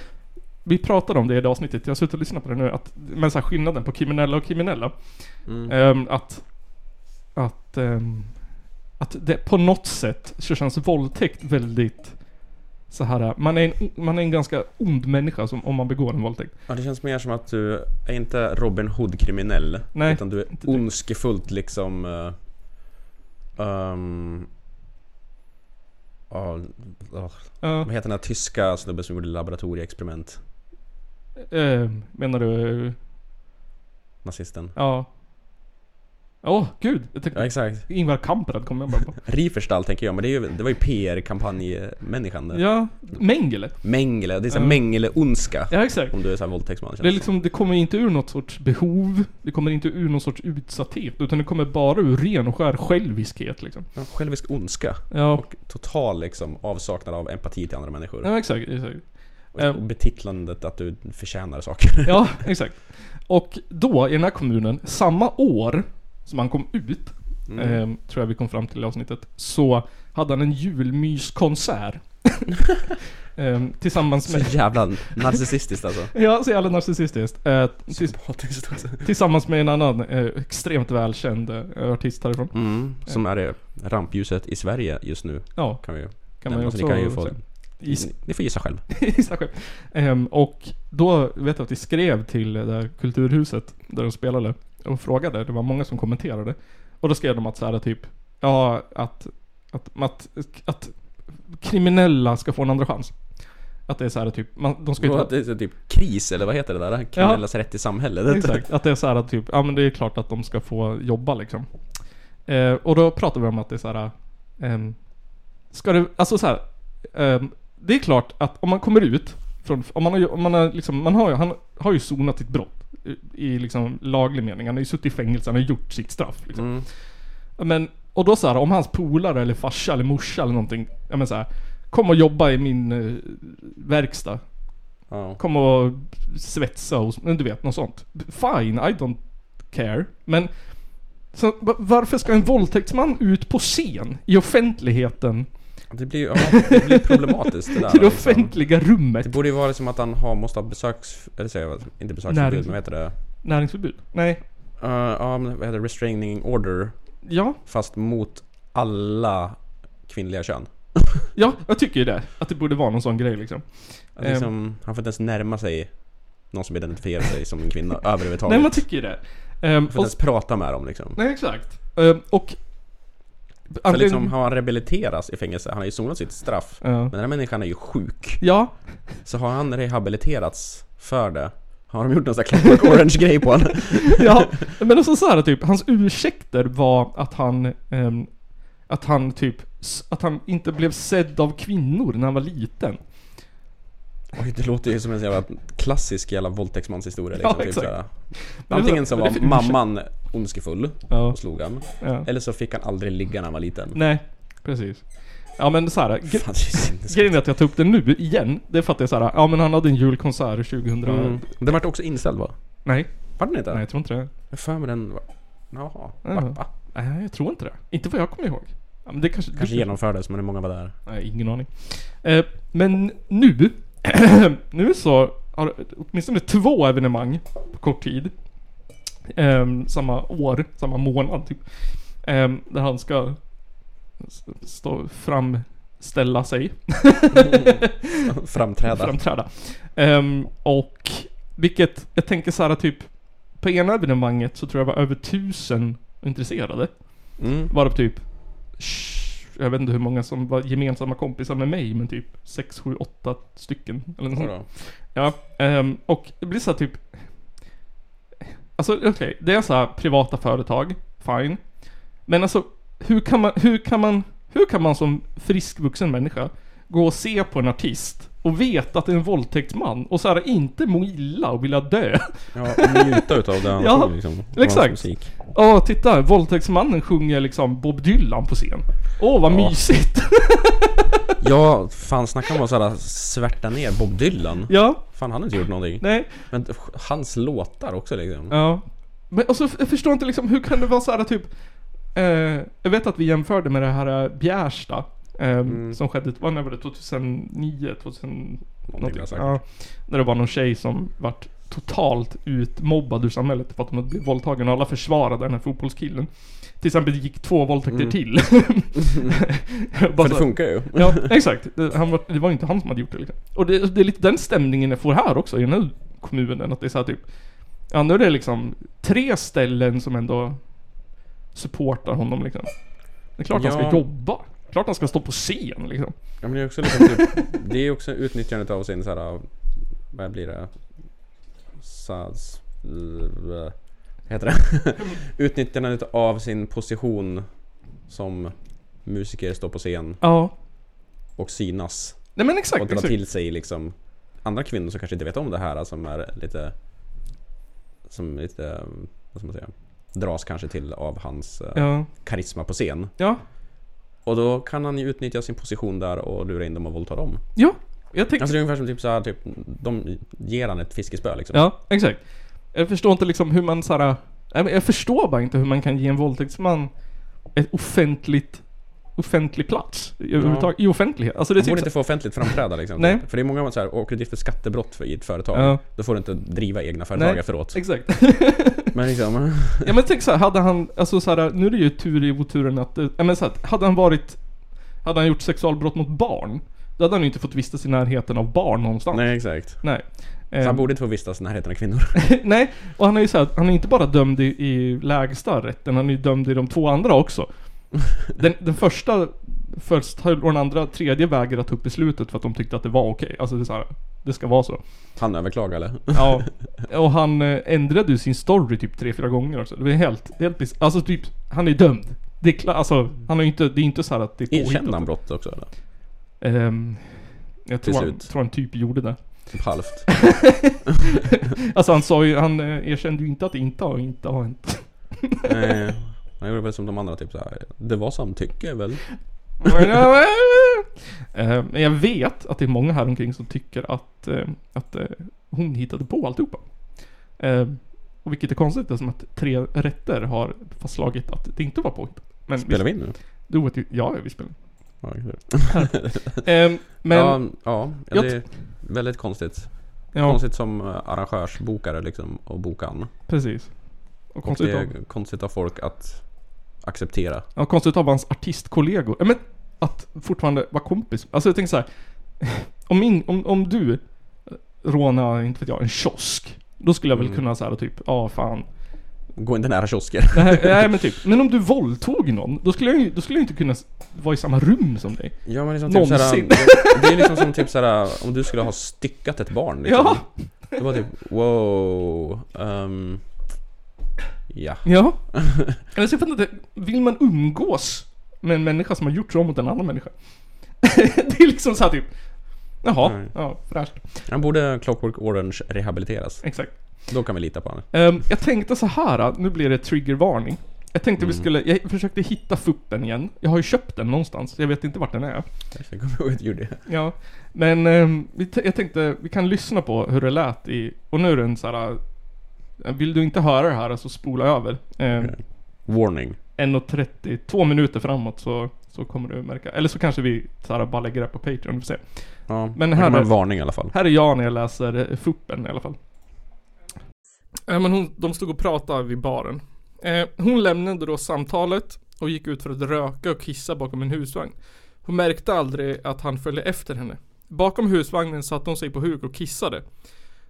A: vi pratade om det i det avsnittet, jag har suttit och lyssnat på det nu, att, men så här, skillnaden på kriminella och kriminella.
C: Mm.
A: Ehm, att... Att... ehm, att det på något sätt så känns våldtäkt väldigt... Så här, man är, en, man är en ganska ond människa som, om man begår en våldtäkt.
C: Ja, det känns mer som att du är inte Robin Hood-kriminell.
A: Nej,
C: Utan du är
A: inte direkt.
C: ondskefullt liksom... Uh, um, ja, ah,
A: Ja,
C: vad heter den där tyska snubben som gjorde laboratorieexperiment?
A: ehm, menar du...
C: Nazisten.
A: Ja. Åh, gud! Jag
C: Ja,
A: tänkte,
C: exakt.
A: Ingvar Kamprad kom jag bara på.
C: Riefenstahl tänker jag, men det, är ju, det var ju PR-kampanjmänniskan. Ja.
A: Ja, Mengele.
C: Mengele, det är såhär
A: Ja.
C: Mengele-ondska.
A: Ja, exakt.
C: Om du är såhär våldtäktsman känns
A: Det, är liksom, det kommer inte ur något sorts behov, det kommer inte ur någon sorts utsatthet, utan det kommer bara ur ren och skär själviskhet liksom.
C: Ja, Självisk ondska.
A: Ja,
C: Och total liksom avsaknad av empati till andra människor.
A: ja exakt, exakt.
C: Och
A: ehm.
C: betitlandet att du förtjänar saker.
A: Ja, exakt. Och då, i den här kommunen, samma år som han kom ut,
C: Mm.
A: eh, tror jag vi kom fram till i avsnittet, så hade han en julmyskonsert. eh, tillsammans
C: Så
A: med...
C: jävla narcissistiskt alltså.
A: Ja, så jävla narcissistiskt. Eh, tills,
C: Sympatiskt
A: alltså.
C: också.
A: tillsammans med en annan eh, extremt välkänd eh, artist härifrån.
C: Mm, som är det rampljuset i Sverige just nu.
A: Ja,
C: Kan vi ju.
A: kan man ju
C: nämna, så
A: också...
C: ni kan ju få,
A: gissa-
C: ni får gissa själv.
A: gissa själv. Ehm, och då vet jag att vi skrev till det där kulturhuset där de spelade och frågade. Det var många som kommenterade. Och då skrev de att så här typ, ja att, att, att, att kriminella ska få en andra chans. Att det är så här typ, man, de ska ju
C: Ska
A: inte...
C: att det är så typ kris eller vad heter det där? Kriminellas rätt i samhället.
A: Exakt, att det är så här typ, ja men det är klart att de ska få jobba liksom. Eh, och då pratar vi om att det är så här, ehm, ska det, alltså så här, ehm, det är klart att om man kommer ut från, om man har, ju- om man har liksom, man har, ju- han har ju sonat sitt brott i, i liksom laglig mening. Han har ju suttit i fängelse, han har gjort sitt straff liksom.
C: Mm.
A: Men, och då så här, om hans polare eller farsa eller morsa eller någonting, ja men så här, kom och jobba i min eh, verkstad
C: Ja.
A: kom och svetsa och men du vet något sånt. Fine, I don't care. Men så, va- varför ska en våldtäktsman ut på scen i offentligheten?
C: Det blir ju ja, det blir problematiskt det där.
A: till det
C: liksom.
A: offentliga rummet?
C: Det borde ju vara som att han har, måste ha besöks... Eller säger jag, inte besöksförbud,
A: Närings-
C: men vad heter det?
A: Näringsförbud? Nej.
C: Eh, ja, men vad heter det? Restraining order.
A: Ja,
C: Fast mot alla kvinnliga kön.
A: ja, jag tycker ju det. Att det borde vara någon sån grej liksom.
C: Att
A: Ehm.
C: liksom, han får inte ens närma sig någon som identifierar sig som en kvinna
A: Nej,
C: överhuvudtaget.
A: man tycker ju det. Ehm, och,
C: Får inte ens prata med dem liksom.
A: nej, exakt. Ehm, och...
C: Så liksom,
A: Anledningen-
C: har han rehabiliterats i fängelse, han har ju sonat sitt straff.
A: Alltså, Ja.
C: Men den här människan är ju sjuk.
A: Ja,
C: Så har han rehabiliterats för det? Har de gjort någon sån här Clockwork Orange-grej på honom?
A: Ja, men också så här typ, hans ursäkter var att han, ehm, att han typ, s- att han inte blev sedd av kvinnor när han var liten.
C: Oj, det låter ju som en sån jävla klassisk jävla våldtäktsmanshistoria liksom.
A: Ja, exakt.
C: såhär. Antingen så
A: Men det är
C: var
A: för ursäkt.
C: mamman ondskefull
A: Ja,
C: och slog han.
A: ja.
C: Eller så fick han aldrig ligga när han var liten.
A: Nej, precis. Ja men så här, gre-
C: Fan, det är sinnessjukt.
A: grejen är att jag tog upp det nu igen, det är för att det är så här, ja men han hade en julkonsert 2000,
C: Mm. Den vart också inställd va?
A: nej,
C: Var den inte?
A: nej jag tror inte det.
C: Jag för mig den var... Jaha.
A: Ja.
C: Va? va?
A: Nej, jag tror inte det. Inte vad jag kommer ihåg. Ja, men det kanske...
C: Kanske
A: det-
C: genomfördes men hur många var där?
A: Nej, ingen aning. Eh, men nu, nu så har åtminstone två evenemang på kort tid. Ehm, samma år, samma månad typ. Ehm, där han ska s- stå, framställa sig,
C: Framträda.
A: framträda. Ehm, och vilket, jag tänker så här typ, på ena evenemanget så tror jag var över tusen intresserade.
C: Mm.
A: Varav typ sh- jag vet inte hur många som var gemensamma kompisar med mig men typ 6, 7, 8 stycken eller något
C: Så
A: sånt.
C: då.
A: Ja, ehm, och det blir så här typ Alltså okej, det är så här privata företag fine. Men alltså, hur kan man, hur kan man, hur kan man som frisk vuxen människa gå och se på en artist och veta att det är en våldtäktsman och så här inte må illa och vilja dö?
C: Ja, och njuta utav det han
A: Ja,
C: sjunger, liksom. och
A: exakt.
C: hans musik.
A: Åh, titta! Våldtäktsmannen sjunger liksom Bob Dylan på scen. Åh, vad
C: Ja.
A: mysigt!
C: Ja, fan snacka om att såhär svärta ner Bob Dylan.
A: ja,
C: Fan han har inte gjort någonting.
A: nej,
C: Men hans låtar också liksom.
A: ja. Men alltså, f- jag förstår inte liksom, hur kan det vara så här typ... Eh, jag vet att vi jämförde med det här eh, Bjärsta. Eh, Som skedde, vad när var det? 2009? 2000,
C: Mm. Någonting jag sagt.
A: Ja, när det var någon tjej som vart totalt utmobbad ur samhället för att hon hade blivit våldtagen och alla försvarade den här fotbollskillen. Till exempel det gick två våldtäkter till. Bara
C: Mm. För det
A: så-
C: funkar ju.
A: Ja, exakt. Det, han var, det var inte han som hade gjort det liksom. Och det, det är lite den stämningen jag får här också i den här kommunen. Att det är så här typ... Ja, nu är det liksom tre ställen som ändå supportar honom liksom. Det är klart han
C: Ja.
A: ska jobba. Klart han ska stå på scen liksom.
C: Ja, men det är också liksom typ, Det är också utnyttjandet av sin såhär... Vad blir det? Saz... vad Heter det? Utnyttjandet av sin position som musiker, står på scen
A: Ja.
C: och synas.
A: Nej men
C: Och
A: exakt.
C: dra
A: exakt.
C: till sig liksom andra kvinnor som kanske inte vet om det här som är lite... Som är lite... Vad ska man säga? Dras kanske till av hans eh,
A: Ja.
C: karisma på scen.
A: Ja.
C: Och då kan han ju utnyttja sin position där och lura in dem och våldta dem.
A: Ja. Jag tänker...
C: Alltså det är ungefär som typ så här, typ, de ger han ett fiskespö liksom.
A: Ja, exakt. Jag förstår inte liksom hur man såhär... Nej men jag förstår bara inte hur man kan ge en våldtäktsman ett offentligt... Offentlig plats. I, överhuvudtaget- i offentlighet. Alltså det är
C: Du borde
A: typ
C: inte få offentligt framträda liksom.
A: Nej.
C: För det är många som åker dit för skattebrott för, i ett företag.
A: Ja.
C: Då får du inte driva egna företag
A: Nej.
C: efteråt.
A: Exakt.
C: Men liksom...
A: Ja men tänk så här, hade han, alltså så här, nu är det ju tur i oturen att, det- ja men så här, hade han varit, hade han gjort sexualbrott mot barn, då hade han ju inte fått vistas i närheten av barn någonstans.
C: Nej exakt.
A: Nej.
C: Så
A: Eh,
C: han borde inte få vistas i närheten av kvinnor.
A: nej, och han är ju så här, han är inte bara dömd i, i lägsta rätten, han är ju dömd i de två andra också. Den, den första först höll och den andra, tredje vägrade ta upp beslutet för att de tyckte att det var okej. Alltså det är så här, det ska vara så.
C: Han överklagar eller?
A: Ja, och han eh, ändrade ju sin story typ tre fyra gånger också. Det var helt, helt bis- Alltså typ, han är dömd. Det är klart, alltså han har ju inte, det är inte så här att det är
C: Erkände han brott också eller?
A: Ehm, jag
C: Till
A: tror han,
C: slut.
A: tror han typ gjorde det.
C: Typ halvt.
A: Alltså han sa ju, han eh, erkände ju inte att det inte har, inte har hänt.
C: Nej. Han gjorde väl som de andra typ såhär. Det var samtycke väl?
A: Ehm, Men jag vet att det är många här omkring som tycker att, eh, att eh, hon hittade på alltihopa. Ehm, Och vilket är konstigt eftersom att tre rätter har fastslagit att det inte var påhittat. Men
C: Spelar vi in nu?
A: Du vet ju, ja vi spelar.
C: Ja, kul.
A: Ehm, men, ja,
C: ja, ja,
A: Jag
C: det är väldigt konstigt. Konstigt som eh, arrangörsbokare liksom och bokan.
A: precis. Och
C: Och
A: konstigt,
C: det
A: av,
C: är konstigt av folk att acceptera.
A: ja, konstigt av hans artistkollegor. Ja, Men att fortfarande vara kompis. Alltså jag tänker så här. Om, min, om, om du eh, rånar, inte vet jag, en kiosk. Då skulle jag väl
C: Mm.
A: kunna säga typ, ja fan.
C: Gå inte nära kiosker.
A: Nej, nej men typ. Men om du våldtog någon, då skulle jag ju då skulle jag inte kunna s- vara i samma rum som dig.
C: Ja men liksom
A: Någonsin.
C: typ såhär, Det är liksom som typ såhär om du skulle ha styckat ett barn liksom.
A: Ja.
C: Det var typ wow. ehm, ja.
A: Ja. Alltså jag fattar inte, vill man umgås med en människa som har gjort så mot en annan människa? det är liksom såhär typ, jaha,
C: Nej.
A: ja fräscht,
C: Han borde Clockwork Orange rehabiliteras.
A: exakt.
C: Då kan vi lita på honom.
A: Ehm, jag tänkte så här, nu blir det triggervarning. Jag tänkte vi skulle, jag försökte hitta fuppen igen. Jag har ju köpt den någonstans, jag vet inte vart den är.
C: Jag kommer ihåg att jag gjorde det.
A: Ja, men ehm, vi t- jag tänkte vi kan lyssna på hur det lät i, och nu är den så här. eh, Vill du inte höra det här så spola över. Ehm,
C: Warning.
A: 1.30, två minuter framåt så, så kommer du märka. Eller så kanske vi så här, bara lägger det på Patreon, vi får se.
C: Ja,
A: Men
C: men här
A: här
C: kommer
A: är-
C: en varning i alla fall.
A: Här är jag när jag läser eh, fuppen i alla fall. Eh, men hon, de stod och pratade vid baren. Eh, hon lämnade då samtalet och gick ut för att röka och kissa bakom en husvagn. Hon märkte aldrig att han följde efter henne. Bakom husvagnen satte hon sig på huk och kissade.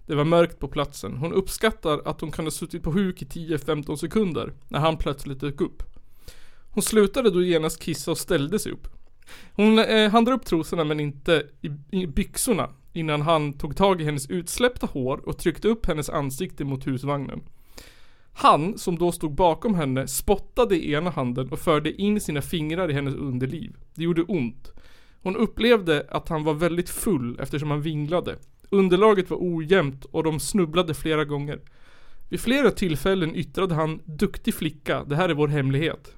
A: Det var mörkt på platsen. Hon uppskattar att hon kunde ha suttit på huk i 10-15 sekunder när han plötsligt dök upp. Hon slutade då genast kissa och ställde sig upp. Hon eh, hann dra upp trosorna men inte i, i byxorna innan han tog tag i hennes utsläppta hår och tryckte upp hennes ansikte mot husvagnen. Han, som då stod bakom henne, spottade i ena handen och förde in sina fingrar i hennes underliv. Det gjorde ont. Hon upplevde att han var väldigt full eftersom han vinglade. Underlaget var ojämnt och de snubblade flera gånger. Vid flera tillfällen yttrade han ”Duktig flicka, det här är vår hemlighet”.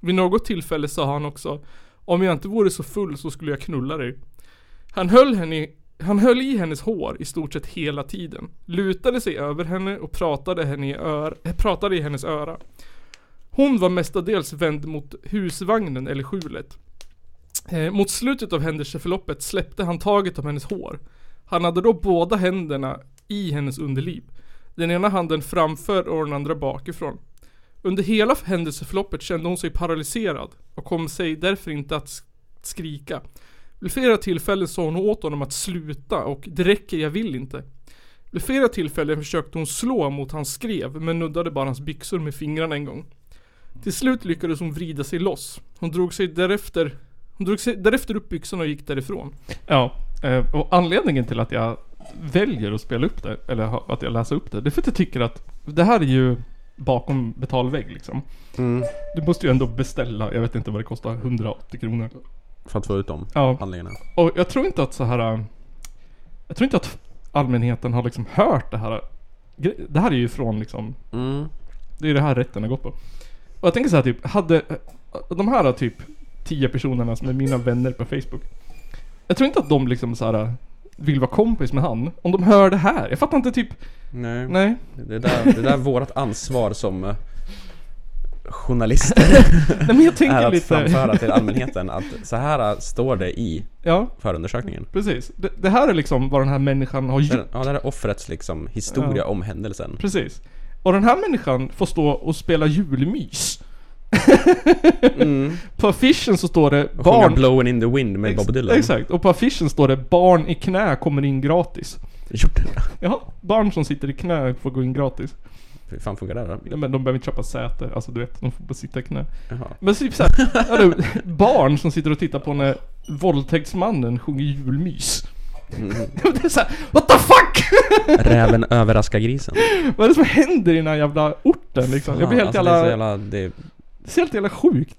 A: Vid något tillfälle sa han också ”Om jag inte vore så full så skulle jag knulla dig”. Han höll, henne, han höll i hennes hår i stort sett hela tiden. Lutade sig över henne och pratade, henne i, ör, eh, pratade i hennes öra. Hon var mestadels vänd mot husvagnen eller skjulet. Eh, mot slutet av händelseförloppet släppte han taget om hennes hår. Han hade då båda händerna i hennes underliv. Den ena handen framför och den andra bakifrån. Under hela händelseförloppet kände hon sig paralyserad och kom sig därför inte att sk- skrika. Vid flera tillfällen sa hon åt honom att sluta och det räcker, jag vill inte. Vid flera tillfällen försökte hon slå mot hans skrev men nuddade bara hans byxor med fingrarna en gång. Till slut lyckades hon vrida sig loss. Hon drog sig därefter hon drog sig därefter upp byxorna och gick därifrån. Ja, eh, och anledningen till att jag väljer att spela upp det, eller ha- att jag läser upp det, det är för att jag tycker att det här är ju bakom betalvägg liksom. Du måste ju ändå beställa, jag vet inte vad det kostar, 180 kronor.
C: För att få ut dem
A: Ja.
C: handlingarna.
A: Och jag tror inte att så här. äh, Jag tror inte att allmänheten har liksom hört det här. äh, gre- Det här är ju från liksom,
C: Mm.
A: det är ju det här rätten har gått på. Och jag tänker så här typ, hade äh, de här äh, typ 10 personerna som är mina vänner på Facebook. Jag tror inte att de liksom så här äh, vill vara kompis med han. Om de hör det här. Jag fattar inte typ,
C: Nej.
A: nej.
C: Det, är där, det är där vårat ansvar som eh, journalister
A: Nej men jag
C: är
A: tänker
C: att
A: lite.
C: framföra till allmänheten att så här äh, står det i
A: Ja,
C: förundersökningen.
A: precis. Det, det här är liksom vad den här människan har gjort.
C: Ja, det här är offrets liksom historia
A: Ja.
C: om händelsen.
A: Precis. Och den här människan får stå och spela julmys. på affischen så står det
C: Och sjunga
A: Mm. barn...
C: Blowing in the wind med
A: Ex-
C: Bob Dylan.
A: Exakt, och på affischen står det barn i knä kommer in gratis.
C: Gjorde det.
A: Ja, barn som sitter i knä får gå in gratis.
C: Hur fan funkar det då?
A: Nej, men de behöver inte köpa säte, alltså du vet, de får bara sitta i knä.
C: Jaha.
A: Men typ såhär, ja, du, barn som sitter och tittar på när våldtäktsmannen sjunger julmys. det är såhär, what the fuck!
C: Räven överraskar grisen.
A: Vad är det som händer i den här jävla orten liksom? Jag blir helt jävla...
C: Alltså, Det är så jävla det,
A: Det är helt jävla sjukt.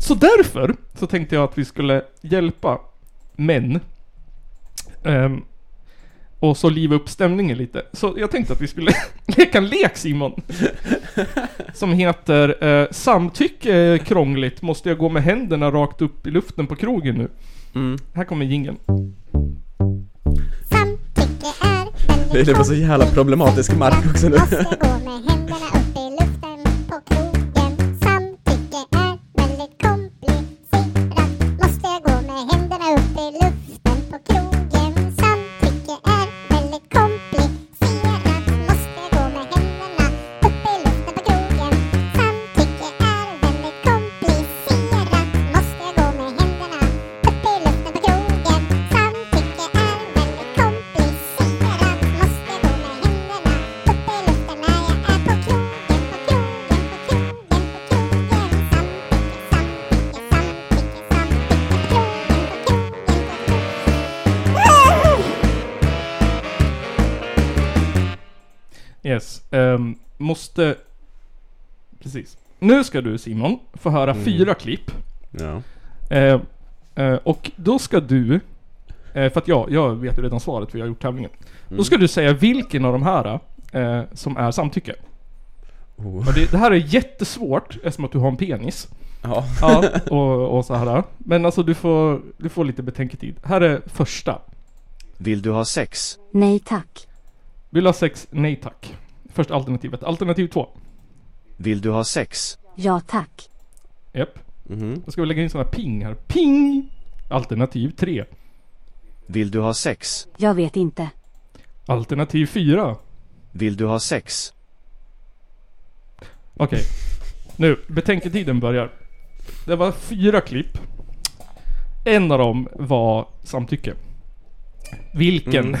A: Så därför så tänkte jag att vi skulle hjälpa män. ehm, och så liva upp stämningen lite. Så jag tänkte att vi skulle leka en lek Simon. Som heter eh, Samtycke är krångligt, måste jag gå med händerna rakt upp i luften på krogen nu?
C: mm.
A: Här kommer jingeln.
F: Samtycke är väldigt
C: det är på så jävla problematisk mark också nu.
F: Måste gå med händerna upp i luften på krogen. Samtycke är väldigt komplicerat. Måste gå med händerna upp i luften på krogen. Samtycke är väldigt komplicerat. Måste gå med händerna upp i luften på krogen. Samtycke är väldigt komplicerat. Måste gå med händerna upp i luften på krogen. Samtycke är väldigt komplicerat. Måste gå med händerna upp i luften när jag är på krogen, på krogen, på krogen, på krogen. Samtycke, samtycke, samtycke, samtycke. På krogen, på krogen, på krogen.
A: Yes. ehm, måste... Precis. Nu ska du Simon få höra fyra klipp.
C: Ja.
A: Eh, eh, och då ska du, eh, för att jag, jag vet ju redan svaret för jag har gjort tävlingen. Då ska du säga vilken av de här eh, som är samtycke.
C: Oh.
A: Och det, det här är jättesvårt eftersom att du har en penis.
C: ja.
A: Ja, och, och så här. Men alltså du får, du får lite betänketid. Här är första.
G: Vill du ha sex?
H: Nej tack.
A: Vill ha sex? Nej tack. Första alternativet. Alternativ två.
G: Vill du ha sex?
H: Ja tack.
A: Japp.
C: Mhm.
A: Då ska vi lägga in såna ping här. Ping! Alternativ tre.
G: Vill du ha sex?
H: Jag vet inte.
A: Alternativ fyra.
G: Vill du ha sex?
A: Okej. Nu, betänketiden börjar. Det var fyra klipp. En av dem var samtycke. Vilken?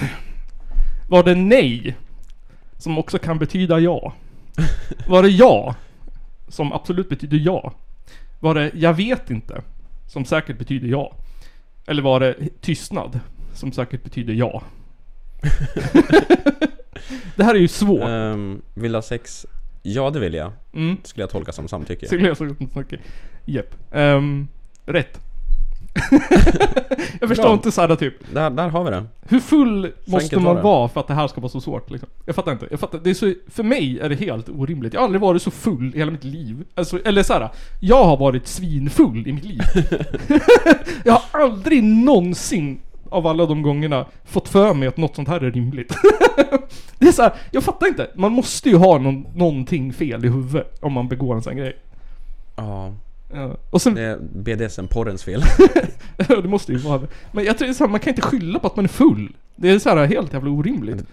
A: Var det nej? Som också kan betyda ja. Var det ja? Som absolut betyder ja. Var det jag vet inte? Som säkert betyder ja. Eller var det tystnad? Som säkert betyder ja. det här är ju svårt.
C: Eh. Ehm, vill ha sex? Ja, det vill jag.
A: Mm.
C: Skulle jag tolka som samtycke.
A: Skulle jag sagt något snackigt. Japp. Ehm, rätt. jag förstår
C: Bra.
A: inte såhär typ.
C: Där, där har vi det.
A: Hur full måste
C: enkelt var
A: man
C: det.
A: vara för att det här ska vara så svårt liksom? Jag fattar inte. Jag fattar. Det är så, för mig är det helt orimligt. Jag har aldrig varit så full i hela mitt liv. Alltså, eller såhär, jag har varit svinfull i mitt liv. jag har aldrig någonsin av alla de gångerna fått för mig att något sånt här är rimligt. det är såhär, jag fattar inte. Man måste ju ha någon, någonting fel i huvudet om man begår en sån här grej.
C: Ja,
A: Ja. Och sen,
C: det är BDSM-porrens fel.
A: det måste ju vara det. Men jag tror det är så här, man kan inte skylla på att man är full. Det är så här helt jävla orimligt.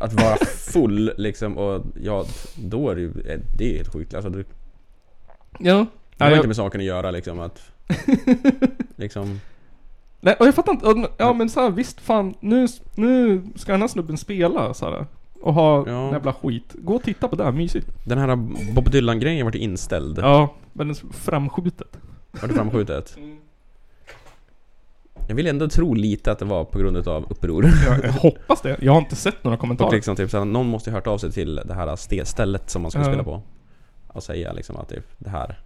C: Att vara full liksom och ja, då är det ju, eh, det är ju helt sjukt. Alltså, du,
A: Ja.
C: det har
A: Nej,
C: inte
A: jag,
C: med saken att göra liksom att... Liksom,
A: nej, och jag fattar inte. Och- Ja men så här, visst fan. Nu, nu ska den här snubben spela så här. Och ha
C: Ja.
A: jävla skit. Gå och titta på det här, mysigt.
C: den här Bob Dylan-grejen vart ju inställd.
A: Ja. Men framskjutet.
C: Var det framskjutet? Jag vill ändå tro lite att det var på grund utav uppror.
A: Jag, jag hoppas det. Jag har inte sett några
C: Och
A: kommentarer.
C: liksom typ såhär, någon måste ju hört av sig till det här ste- stället som man skulle
A: Ja.
C: spela på. Och säga liksom att typ, det här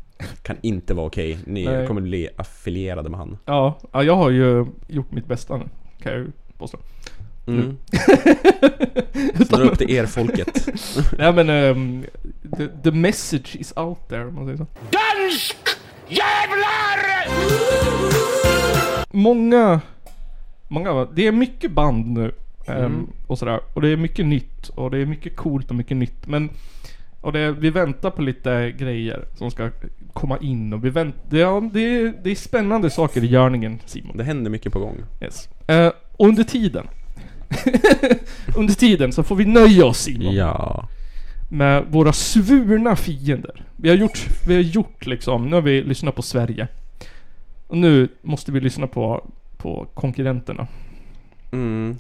C: kan inte vara okej. Ni
A: Nej.
C: kommer bli affilierade med han.
A: Ja, ja, jag har ju gjort mitt bästa nu. Kan jag ju påstå.
C: Mm. Så dra upp till er folket.
A: Nej men, ehm, the, the message is out there om man säger så. Dansk jävlar! Många, många, det är mycket band nu. ehm, Och sådär. Och det är mycket nytt. Och det är mycket coolt och mycket nytt. Men, och det, vi väntar på lite grejer som ska komma in. Och vi vänt, det, ja, det, är- det är spännande saker i görningen Simon.
C: Det händer mycket på gång.
A: Yes. Eh, och under tiden. under tiden så får vi nöja oss Simon
C: Ja.
A: med våra svurna fiender. Vi har gjort, vi har gjort liksom, nu har vi lyssnat på Sverige. Och nu måste vi lyssna på, på konkurrenterna.
C: Mm.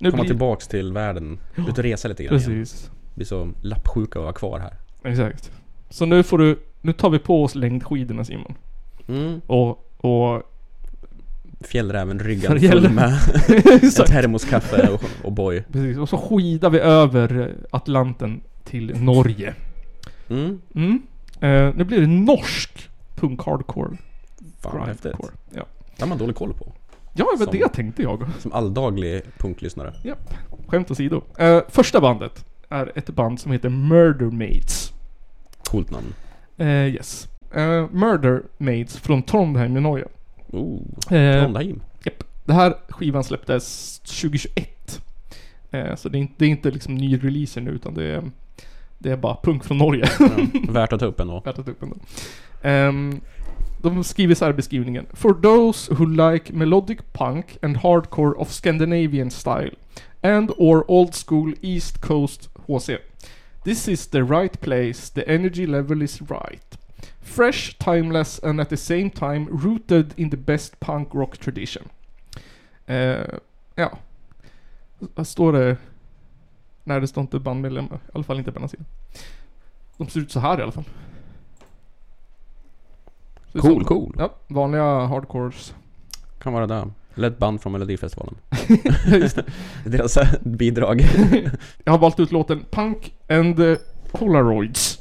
A: Nu
C: Komma
A: blir-
C: tillbaks till världen. Ut och resa lite grann igen.
A: Precis.
C: Bli så lappsjuka och vara kvar här.
A: Exakt. Så nu får du, nu tar vi på oss längdskidorna Simon.
C: Mm.
A: Och, och...
C: Fjällräven ryggan full
A: Fjällräven.
C: med en
A: Exakt.
C: termoskaffe och, och boy.
A: Precis. Och så skidar vi över Atlanten till Norge.
C: Mm.
A: Mm. Eh, nu blir det norsk punk hardcore.
C: Fan vad häftigt.
A: grindcore. Ja.
C: Det har man dålig koll på.
A: Ja, det var
C: Som-
A: det tänkte jag.
C: Som alldaglig punklyssnare.
A: Japp, skämt åsido. Eh, första bandet är ett band som heter Murder Maids.
C: Coolt namn.
A: Eh, yes. Eh, Murder Maids från Trondheim i Norge.
C: Oh,
A: Eh,
C: Trondheim.
A: japp. Det här skivan släpptes 2021. Eh, så det är inte, det är inte liksom ny releaser nu utan det är, det är bara punk från Norge.
C: Ja, värt att ta upp ändå.
A: Värtat upp ändå. Ehm, de skriver så här i beskrivningen. For those who like melodic punk and hardcore of Scandinavian style and or old school East Coast HC. This is the right place, the energy level is right. Fresh, timeless and at the same time rooted in the best punk rock tradition. Eh, ja. Vad står det? Nej, det står inte bandmedlemmar. I alla fall inte på den här sidan. De ser ut så här i alla fall. Så det är
C: Cool,
A: så-
C: cool.
A: Ja, vanliga hardcores.
C: Kan vara där. Eller ett band från Melodifestivalen.
A: Just
C: det. är Deras bidrag.
A: Jag har valt ut låten Punk and eh, Polaroids.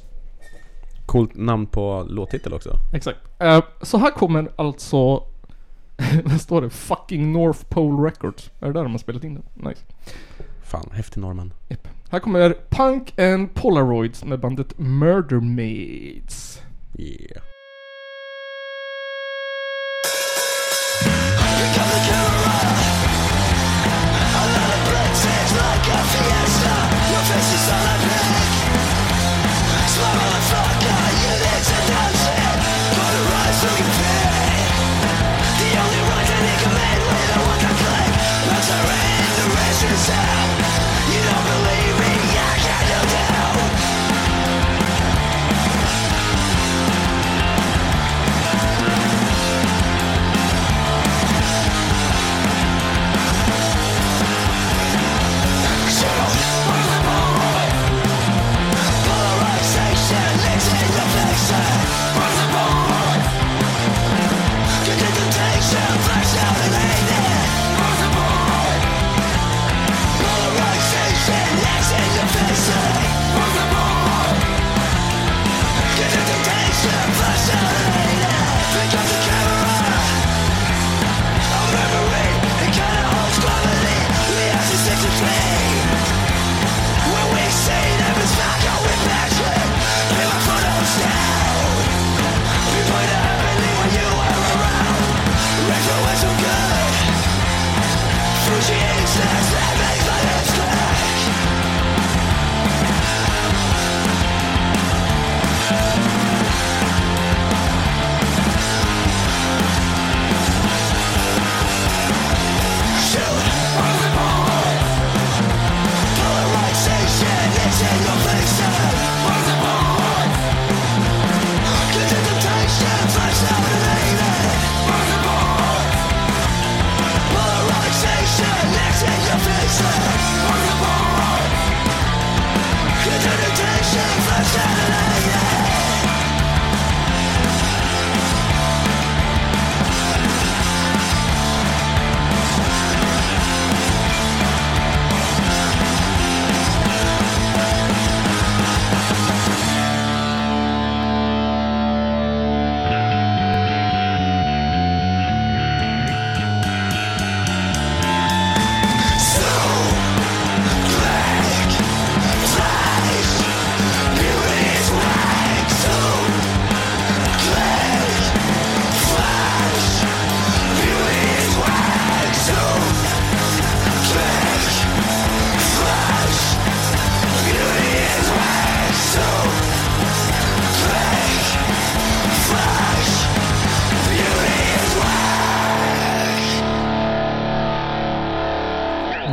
C: Coolt namn på låttitel också.
A: Exakt. Eh, så här kommer alltså... Vad står det? Fucking North Pole Records. Är det där de har spelat in den? Nice.
C: Fan, häftig norrman.
A: Japp. Här kommer Punk and Polaroids med bandet Murder Maids.
C: Yeah.
I: You're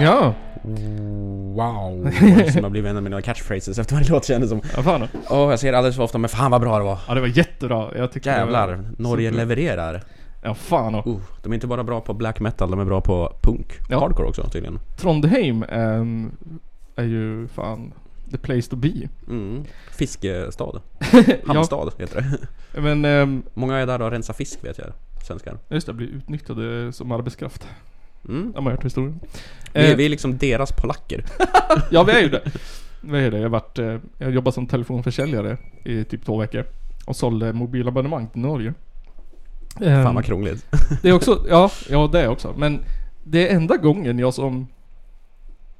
A: Ja,
C: Wow! Som har blivit en av mina catchphrases efter varje låt kändes som.
A: ja fan.
C: Åh, jag ser alldeles för ofta men fan vad bra det var!
A: Ja, det var jättebra. Jag tyckte det var-
C: Jävlar, Norge
A: Super.
C: levererar!
A: Ja, fan och
C: Uh, de är inte bara bra på black metal, de är bra på punk.
A: Ja.
C: Hardcore också tydligen.
A: Trondheim ehm, är ju fan the place to be.
C: Mm. Fiskestad.
A: ja,
C: Hamnstad heter det.
A: men ehm,
C: Många är där och rensar fisk vet jag. Svenskar.
A: just det, blir utnyttjade som arbetskraft.
C: Mm.
A: De har man hört historien.
C: Vi,
A: Eh,
C: vi är liksom deras polacker.
A: Ja, vi är ju det. Vi är ju det. Jag har varit, eh, jag har jobbat som telefonförsäljare i typ två veckor. Och sålde mobilabonnemang till Norge. Ehm,
C: Fan vad krångligt.
A: Det är också, ja, ja det är också. Men det är enda gången jag som...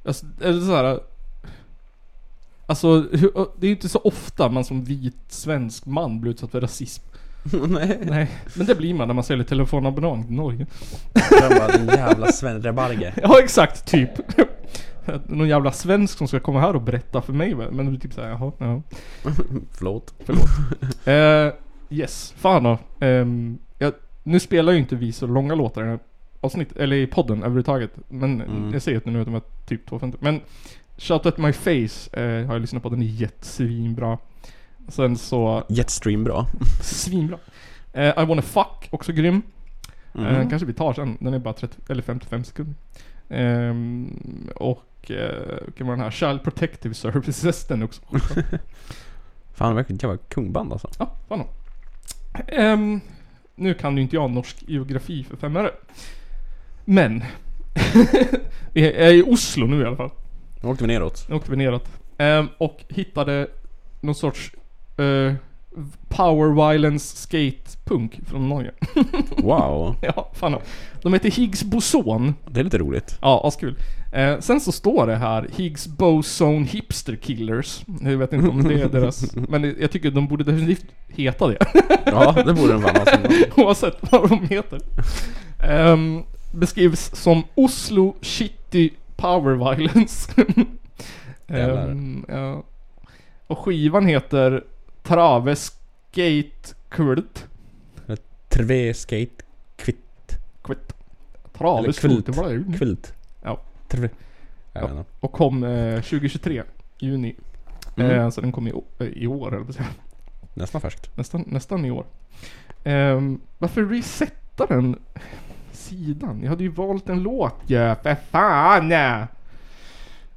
A: Alltså, eller så här, alltså hur- det är ju inte så ofta man som vit svensk man blir utsatt för rasism.
C: Nej.
A: Nej, men det blir man när man säljer telefonabonnemang till Norge.
C: Den bara den jävla svenrebarge.
A: Ja, exakt, typ. Någon jävla svensk som ska komma här och berätta för mig. va? Men det är typ såhär, jaha, ja.
C: Förlåt.
A: Eh, yes, fan då. Ehm, jag, Nu spelar ju inte vi så långa låtar i den här avsnitt, eller i podden överhuvudtaget. Men
C: Mm.
A: jag säger att nu att de är typ 2.50. Men Shout At My Face eh, har jag lyssnat på, den är jättesvinbra. Sen så,
C: Jetstream bra.
A: svinbra. Eh, I Wanna Fuck, också grym.
C: Mm.
A: Eh, kanske vi tar sen, den är bara 30, eller 55 sekunder. Ehm, och, eh, kan vara den här Child Protective Services, den är också skitbra.
C: Fan verkligen jävla kungband alltså.
A: Ja, fan då. Ehm, nu kan ju inte jag norsk geografi för fem öre. Men. vi är i Oslo nu i alla fall.
C: Nu åkte vi neråt.
A: Nu åkte vi neråt. Ehm, och hittade någon sorts eh, power violence skate punk från Norge.
C: Wow.
A: ja, fan då. De heter Higgs Boson.
C: Det är lite roligt.
A: Ja, askul. Eh, sen så står det här Higgs Boson Hipster Killers. Jag vet inte om det är deras... Men jag tycker de borde definitivt heta det.
C: Ja, det borde den Alltså. fan ha. som-
A: Oavsett vad de heter. Ehm, beskrivs som Oslo Shitty Power Violence.
C: Jävlar.
A: Ehm, ja. Och skivan heter Traves Skate Kult.
C: Tre skate kvitt.
A: Kvitt.
C: Eller
A: Traves
C: Kult.
A: Kult. det var det ju.
C: Kvilt.
A: Ja.
C: Tre. Jag
A: Ja.
C: vet inte.
A: Och kom eh, 2023, juni.
C: Mm.
A: Eh, så den kom i, å- eh, i år, eller vad säger jag?
C: Nästan färskt.
A: nästan, nästan i år. Ehm, varför resetta den sidan? Jag hade ju valt en låt ju, för fan!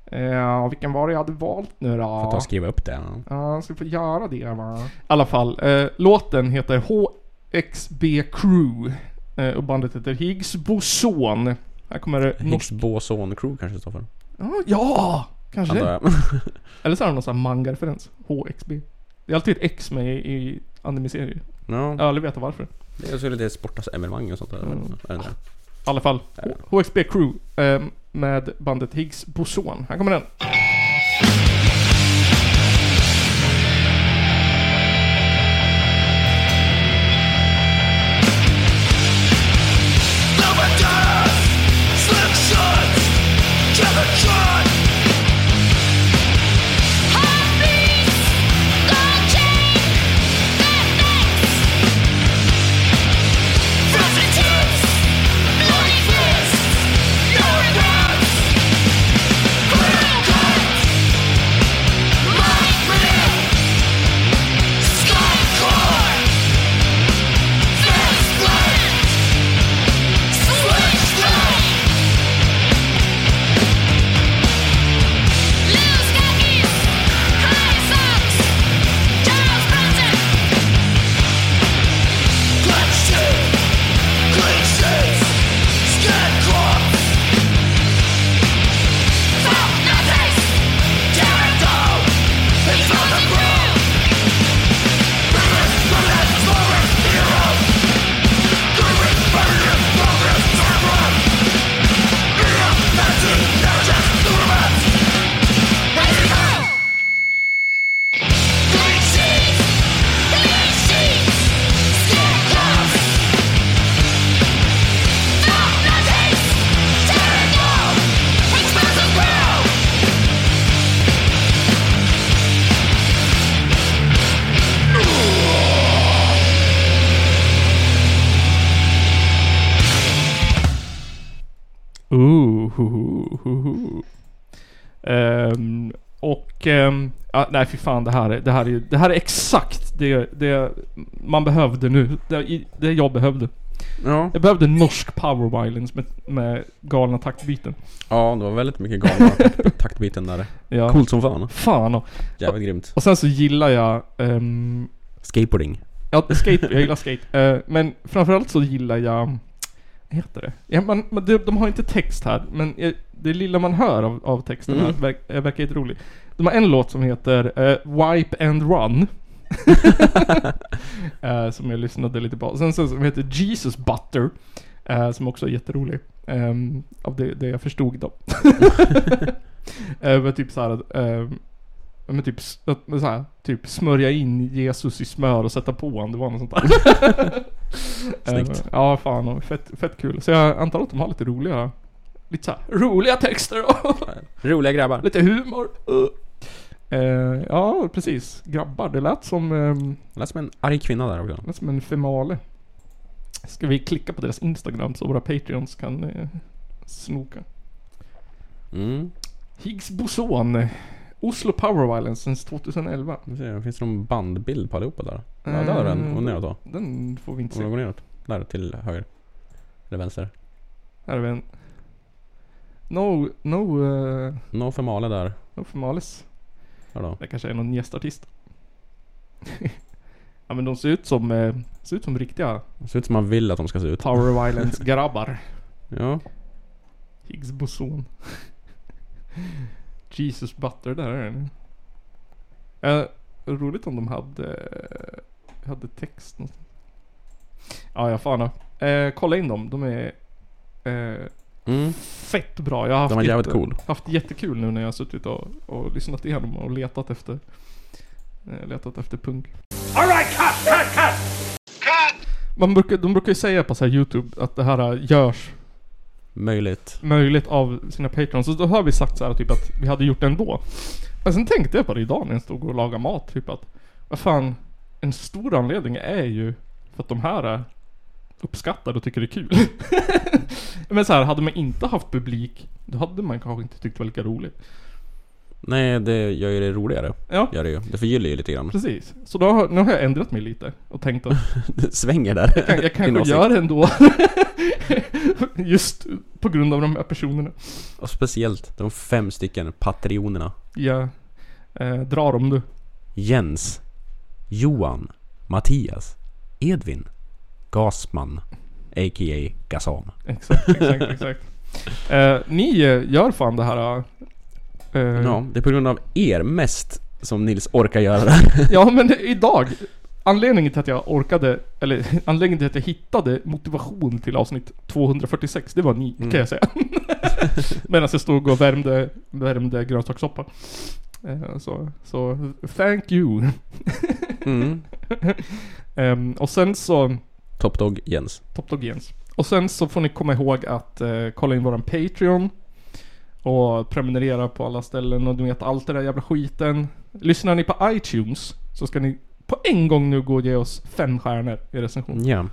A: Eh, vilken var det jag hade valt nu då?
C: Får ta och skriva upp det.
A: Ja, jag ska få göra det va. I alla fall, eh, låten heter HXB Crew. Eh, och bandet heter Higgs Boson. Här kommer det...
C: Higgs boson crew kanske det står för.
A: Ah, ja! Kanske
C: Antar
A: det.
C: jag.
A: Eller så har de någon sån här manga-referens. HXB. Det är alltid ett X med i, i anime-serier. Jag
C: Ja.
A: har aldrig vetat varför. I
C: Det är så lite sportevenemang och sånt där.
A: Mm.
C: Är det inte?
A: alla fall, H- HXB Crew ehm, med bandet Higgs Boson. Här kommer den.
I: Thank
A: Ooh, ho, ho, ho, ho. Ehm, och... ehm, ja, nej fy fan det här är, det här är, det här är exakt det, det man behövde nu. Det, i- det jag behövde.
C: Ja.
A: Jag behövde norsk power violence med, med galna taktbyten.
C: ja, det var väldigt mycket galna takt- taktbiten där.
A: Ja.
C: Coolt som fan.
A: Fan och,
C: Jävligt grymt.
A: och sen så gillar jag... ehm,
C: Skateboarding.
A: ja, skate, jag gillar skate. Eh, men framförallt så gillar jag... Vad heter det? Ja, man, man, de, de har inte text här, men eh, det lilla man hör av, av texten
C: Mm.
A: här verk, eh, verkar jätterolig. De har en låt som heter eh, Wipe and Run. Eh, som jag lyssnade lite på. Sen så som heter Jesus Butter. eh, som också är jätterolig. Ehm, av det, det jag förstod då. Eh, men typ såhär att... ehm, men typ, s- att- men så här, typ smörja in Jesus i smör och sätta på honom. Det var något sånt där.
C: Snyggt.
A: Eh, ja, fan. och Fett, fett kul. Så jag antar att de har lite roliga... Lite så här, roliga texter och
C: Roliga grabbar.
A: lite humor. Uh. Eh, ja, precis. Grabbar. Det lät som... ehm,
C: Lät som en arg kvinna där också.
A: det är som en female. Ska vi klicka på deras Instagram så våra Patreons kan eh, snoka?
C: Mm.
A: Higgs boson. eh, Oslo Power Violence sedan 2011.
C: Nu ser jag, Finns det någon bandbild på allihopa där? Ja, där är den. Och neråt då.
A: Eh, Den får vi inte
C: Om
A: se.
C: man går neråt. Där till höger. Eller vänster.
A: Här är vi en. No, no, uh,
C: Nå för Male där.
A: no females.
C: Där då.
A: Det kanske är någon gästartist. ja men de ser ut som, eh, ser ut som riktiga
C: Det ser ut som man vill att de ska se ut.
A: Power Violence grabbar.
C: Ja.
A: Higgs boson. Jesus butter, där är den. Eh, roligt om de hade, hade text någonstans. Ja, ja fan ja. eh, Kolla in dem, de är eh,
C: Mm.
A: fett bra. Jag har haft,
C: De var jävligt
A: jätte-
C: cool.
A: haft jättekul nu när jag har suttit och, och lyssnat igenom och letat efter, eh, letat efter punk. Man brukar, de brukar ju säga på så här Youtube att det här görs
C: Möjligt.
A: möjligt av sina patrons. Så då har vi sagt så här typ att vi hade gjort det ändå. Men sen tänkte jag på det idag när jag stod och lagade mat. Typ att, vad fan. En stor anledning är ju för att de här är uppskattade och tycker det är kul. Men så här, hade man inte haft publik, då hade man kanske inte tyckt det var lika roligt.
C: Nej, det gör ju det roligare.
A: Ja,
C: Gör det ju. Det förgyller ju lite grann.
A: precis. Så då har, nu har jag ändrat mig lite och tänkt att
C: Det svänger där.
A: jag, jag
C: Din
A: kanske
C: åsikt.
A: gör det ändå. Just på grund av de här personerna.
C: Och speciellt de fem stycken patrionerna.
A: Jag eh, drar dem nu.
C: Jens, Johan, Mattias, Edvin, Gasman, a.k.a. Gasam.
A: Exakt, exakt, exakt. Eh, ni eh, gör fan det här. eh, eh,
C: Ja, det är på grund av er mest som Nils orkar göra det. här.
A: ja, men idag. Anledningen till att jag orkade, eller anledningen till att jag hittade motivation till avsnitt 246, det var ni kan jag säga. Medan jag stod och värmde, värmde grönsakssoppa. Eh, så, så thank you.
C: Mm.
A: Ehm, och sen så,
C: Top Dog Jens.
A: Top Dog Jens. Och sen så får ni komma ihåg att eh, kolla in våran Patreon. Och prenumerera på alla ställen och du vet allt det där jävla skiten. Lyssnar ni på iTunes så ska ni på en gång nu gå och ge oss fem stjärnor i recension.
C: Ja.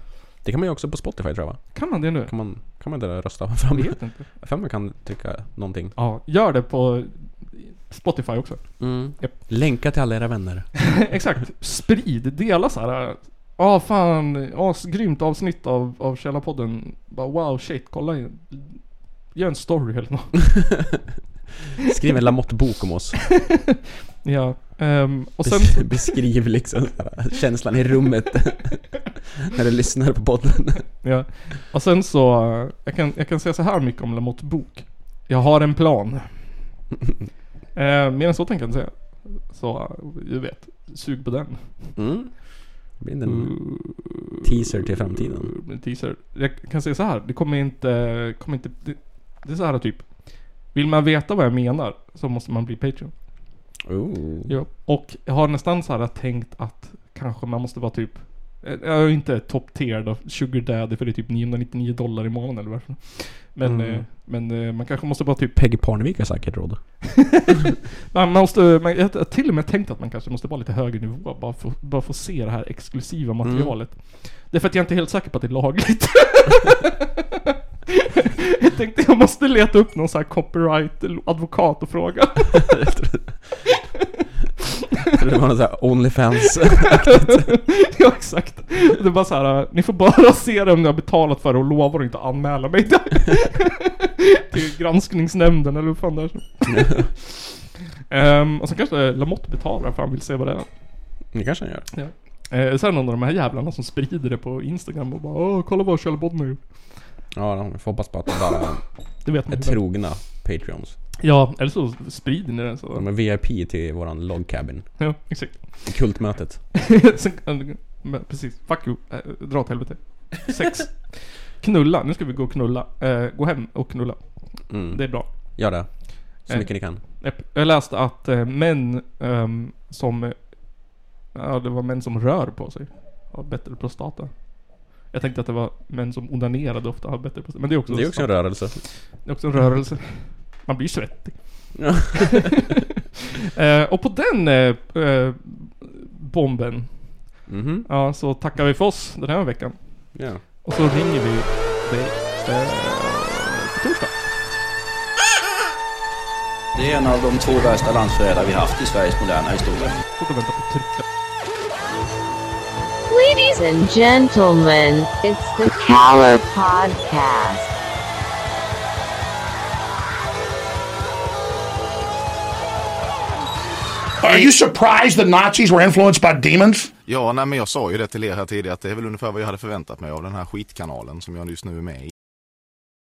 C: Det kan man ju också på Spotify tror jag va?
A: Kan man det nu?
C: Mm. Kan man, kan man inte rösta
A: Jag
C: fram?
A: vet inte.
C: För man kan trycka någonting.
A: Ja, gör det på Spotify också.
C: Mm.
A: Japp.
C: Länka till alla era vänner.
A: Exakt. Sprid, dela så här. Ja fan, asgrymt avsnitt av, av Källarpodden. Bara wow shit, kolla in. Gör en story eller något.
C: Skriv en Lamotte-bok om oss.
A: Ja. ehm, och sen
C: Bes- Beskriv liksom så här, känslan i rummet när du lyssnar på podden.
A: Ja. Och sen så, eh, jag kan, jag kan säga så här mycket om Lamotte bok. Jag har en plan. eh, mer än så tänker jag inte säga. Så, eh, du vet. Sug på den.
C: Mm. Det blir en teaser till framtiden.
A: Mm, Teaser. Jag kan säga så här. Det kommer inte, kommer inte, det, det är så här typ. Vill man veta vad jag menar så måste man bli Patreon.
C: Ooh.
A: Ja. Och jag har nästan så här tänkt att kanske man måste vara typ eh, jag är ju inte top tier då, sugar daddy för det är typ 999 dollar i månaden eller varför. Men,
C: Mm.
A: eh, men eh, man kanske måste vara typ
C: Peggy Parnevik har säkert råd.
A: Man måste, man, jag har till och med tänkt att man kanske måste vara lite högre nivå bara för, bara för att se det här exklusiva materialet. Det är för att jag inte är helt säker på att det är lagligt. tänkte jag måste leta upp någon sån här copyright-advokat och fråga.
C: Jag trodde det var något såhär Onlyfans.
A: ja, exakt. Det är bara så här, ni får bara se det om ni har betalat för det och lovar att inte anmäla mig där. Till granskningsnämnden eller vad fan det är. Ehm, och sen kanske Lamotte betalar för han vill se vad det är.
C: Det kanske han gör.
A: Eh, sen någon av de här jävlarna som sprider det på Instagram och bara Åh, kolla vad Kjell Bodner gjort.
C: Ja, de- vi får hoppas på att de bara
A: Det vet man
C: är
A: ju.
C: trogna Patreons.
A: Ja, eller så sprider ni det
C: De
A: så.
C: är VIP till våran log cabin.
A: Ja, exakt.
C: Kultmötet.
A: sen, eh, men precis, fuck you. Eh, dra åt helvete. Sex. knulla, nu ska vi gå och knulla. Eh, gå hem och knulla.
C: Mm.
A: Det är bra.
C: Gör det. Så
A: Eh.
C: mycket ni kan.
A: Japp. Jag läste att eh, män ehm, som... eh, Ja, det var män som rör på sig. Har bättre prostata. Jag tänkte att det var män som onanerade ofta har bättre prostata. Men det är också,
C: Det är också en rörelse.
A: det är också en rörelse. Man blir svettig.
C: Ja.
A: Eh, och på den eh, eh, bomben,
I: Mm-hmm.
C: Mhm.
A: ja, så tackar vi för oss den här veckan.
C: Ja.
A: Och så ringer vi dig eh, på torsdag.
I: Det är en av de två värsta landsförrädare vi haft i Sveriges moderna historia.
A: Får du vänta på att trycka.
J: Ladies and gentlemen, it's the Cower Podcast.
E: Are you surprised the Nazis were influenced by demons?
I: Ja, nej, men jag sa ju det till er här tidigare att det är väl ungefär vad jag hade förväntat mig av den här skitkanalen som jag just nu är med i.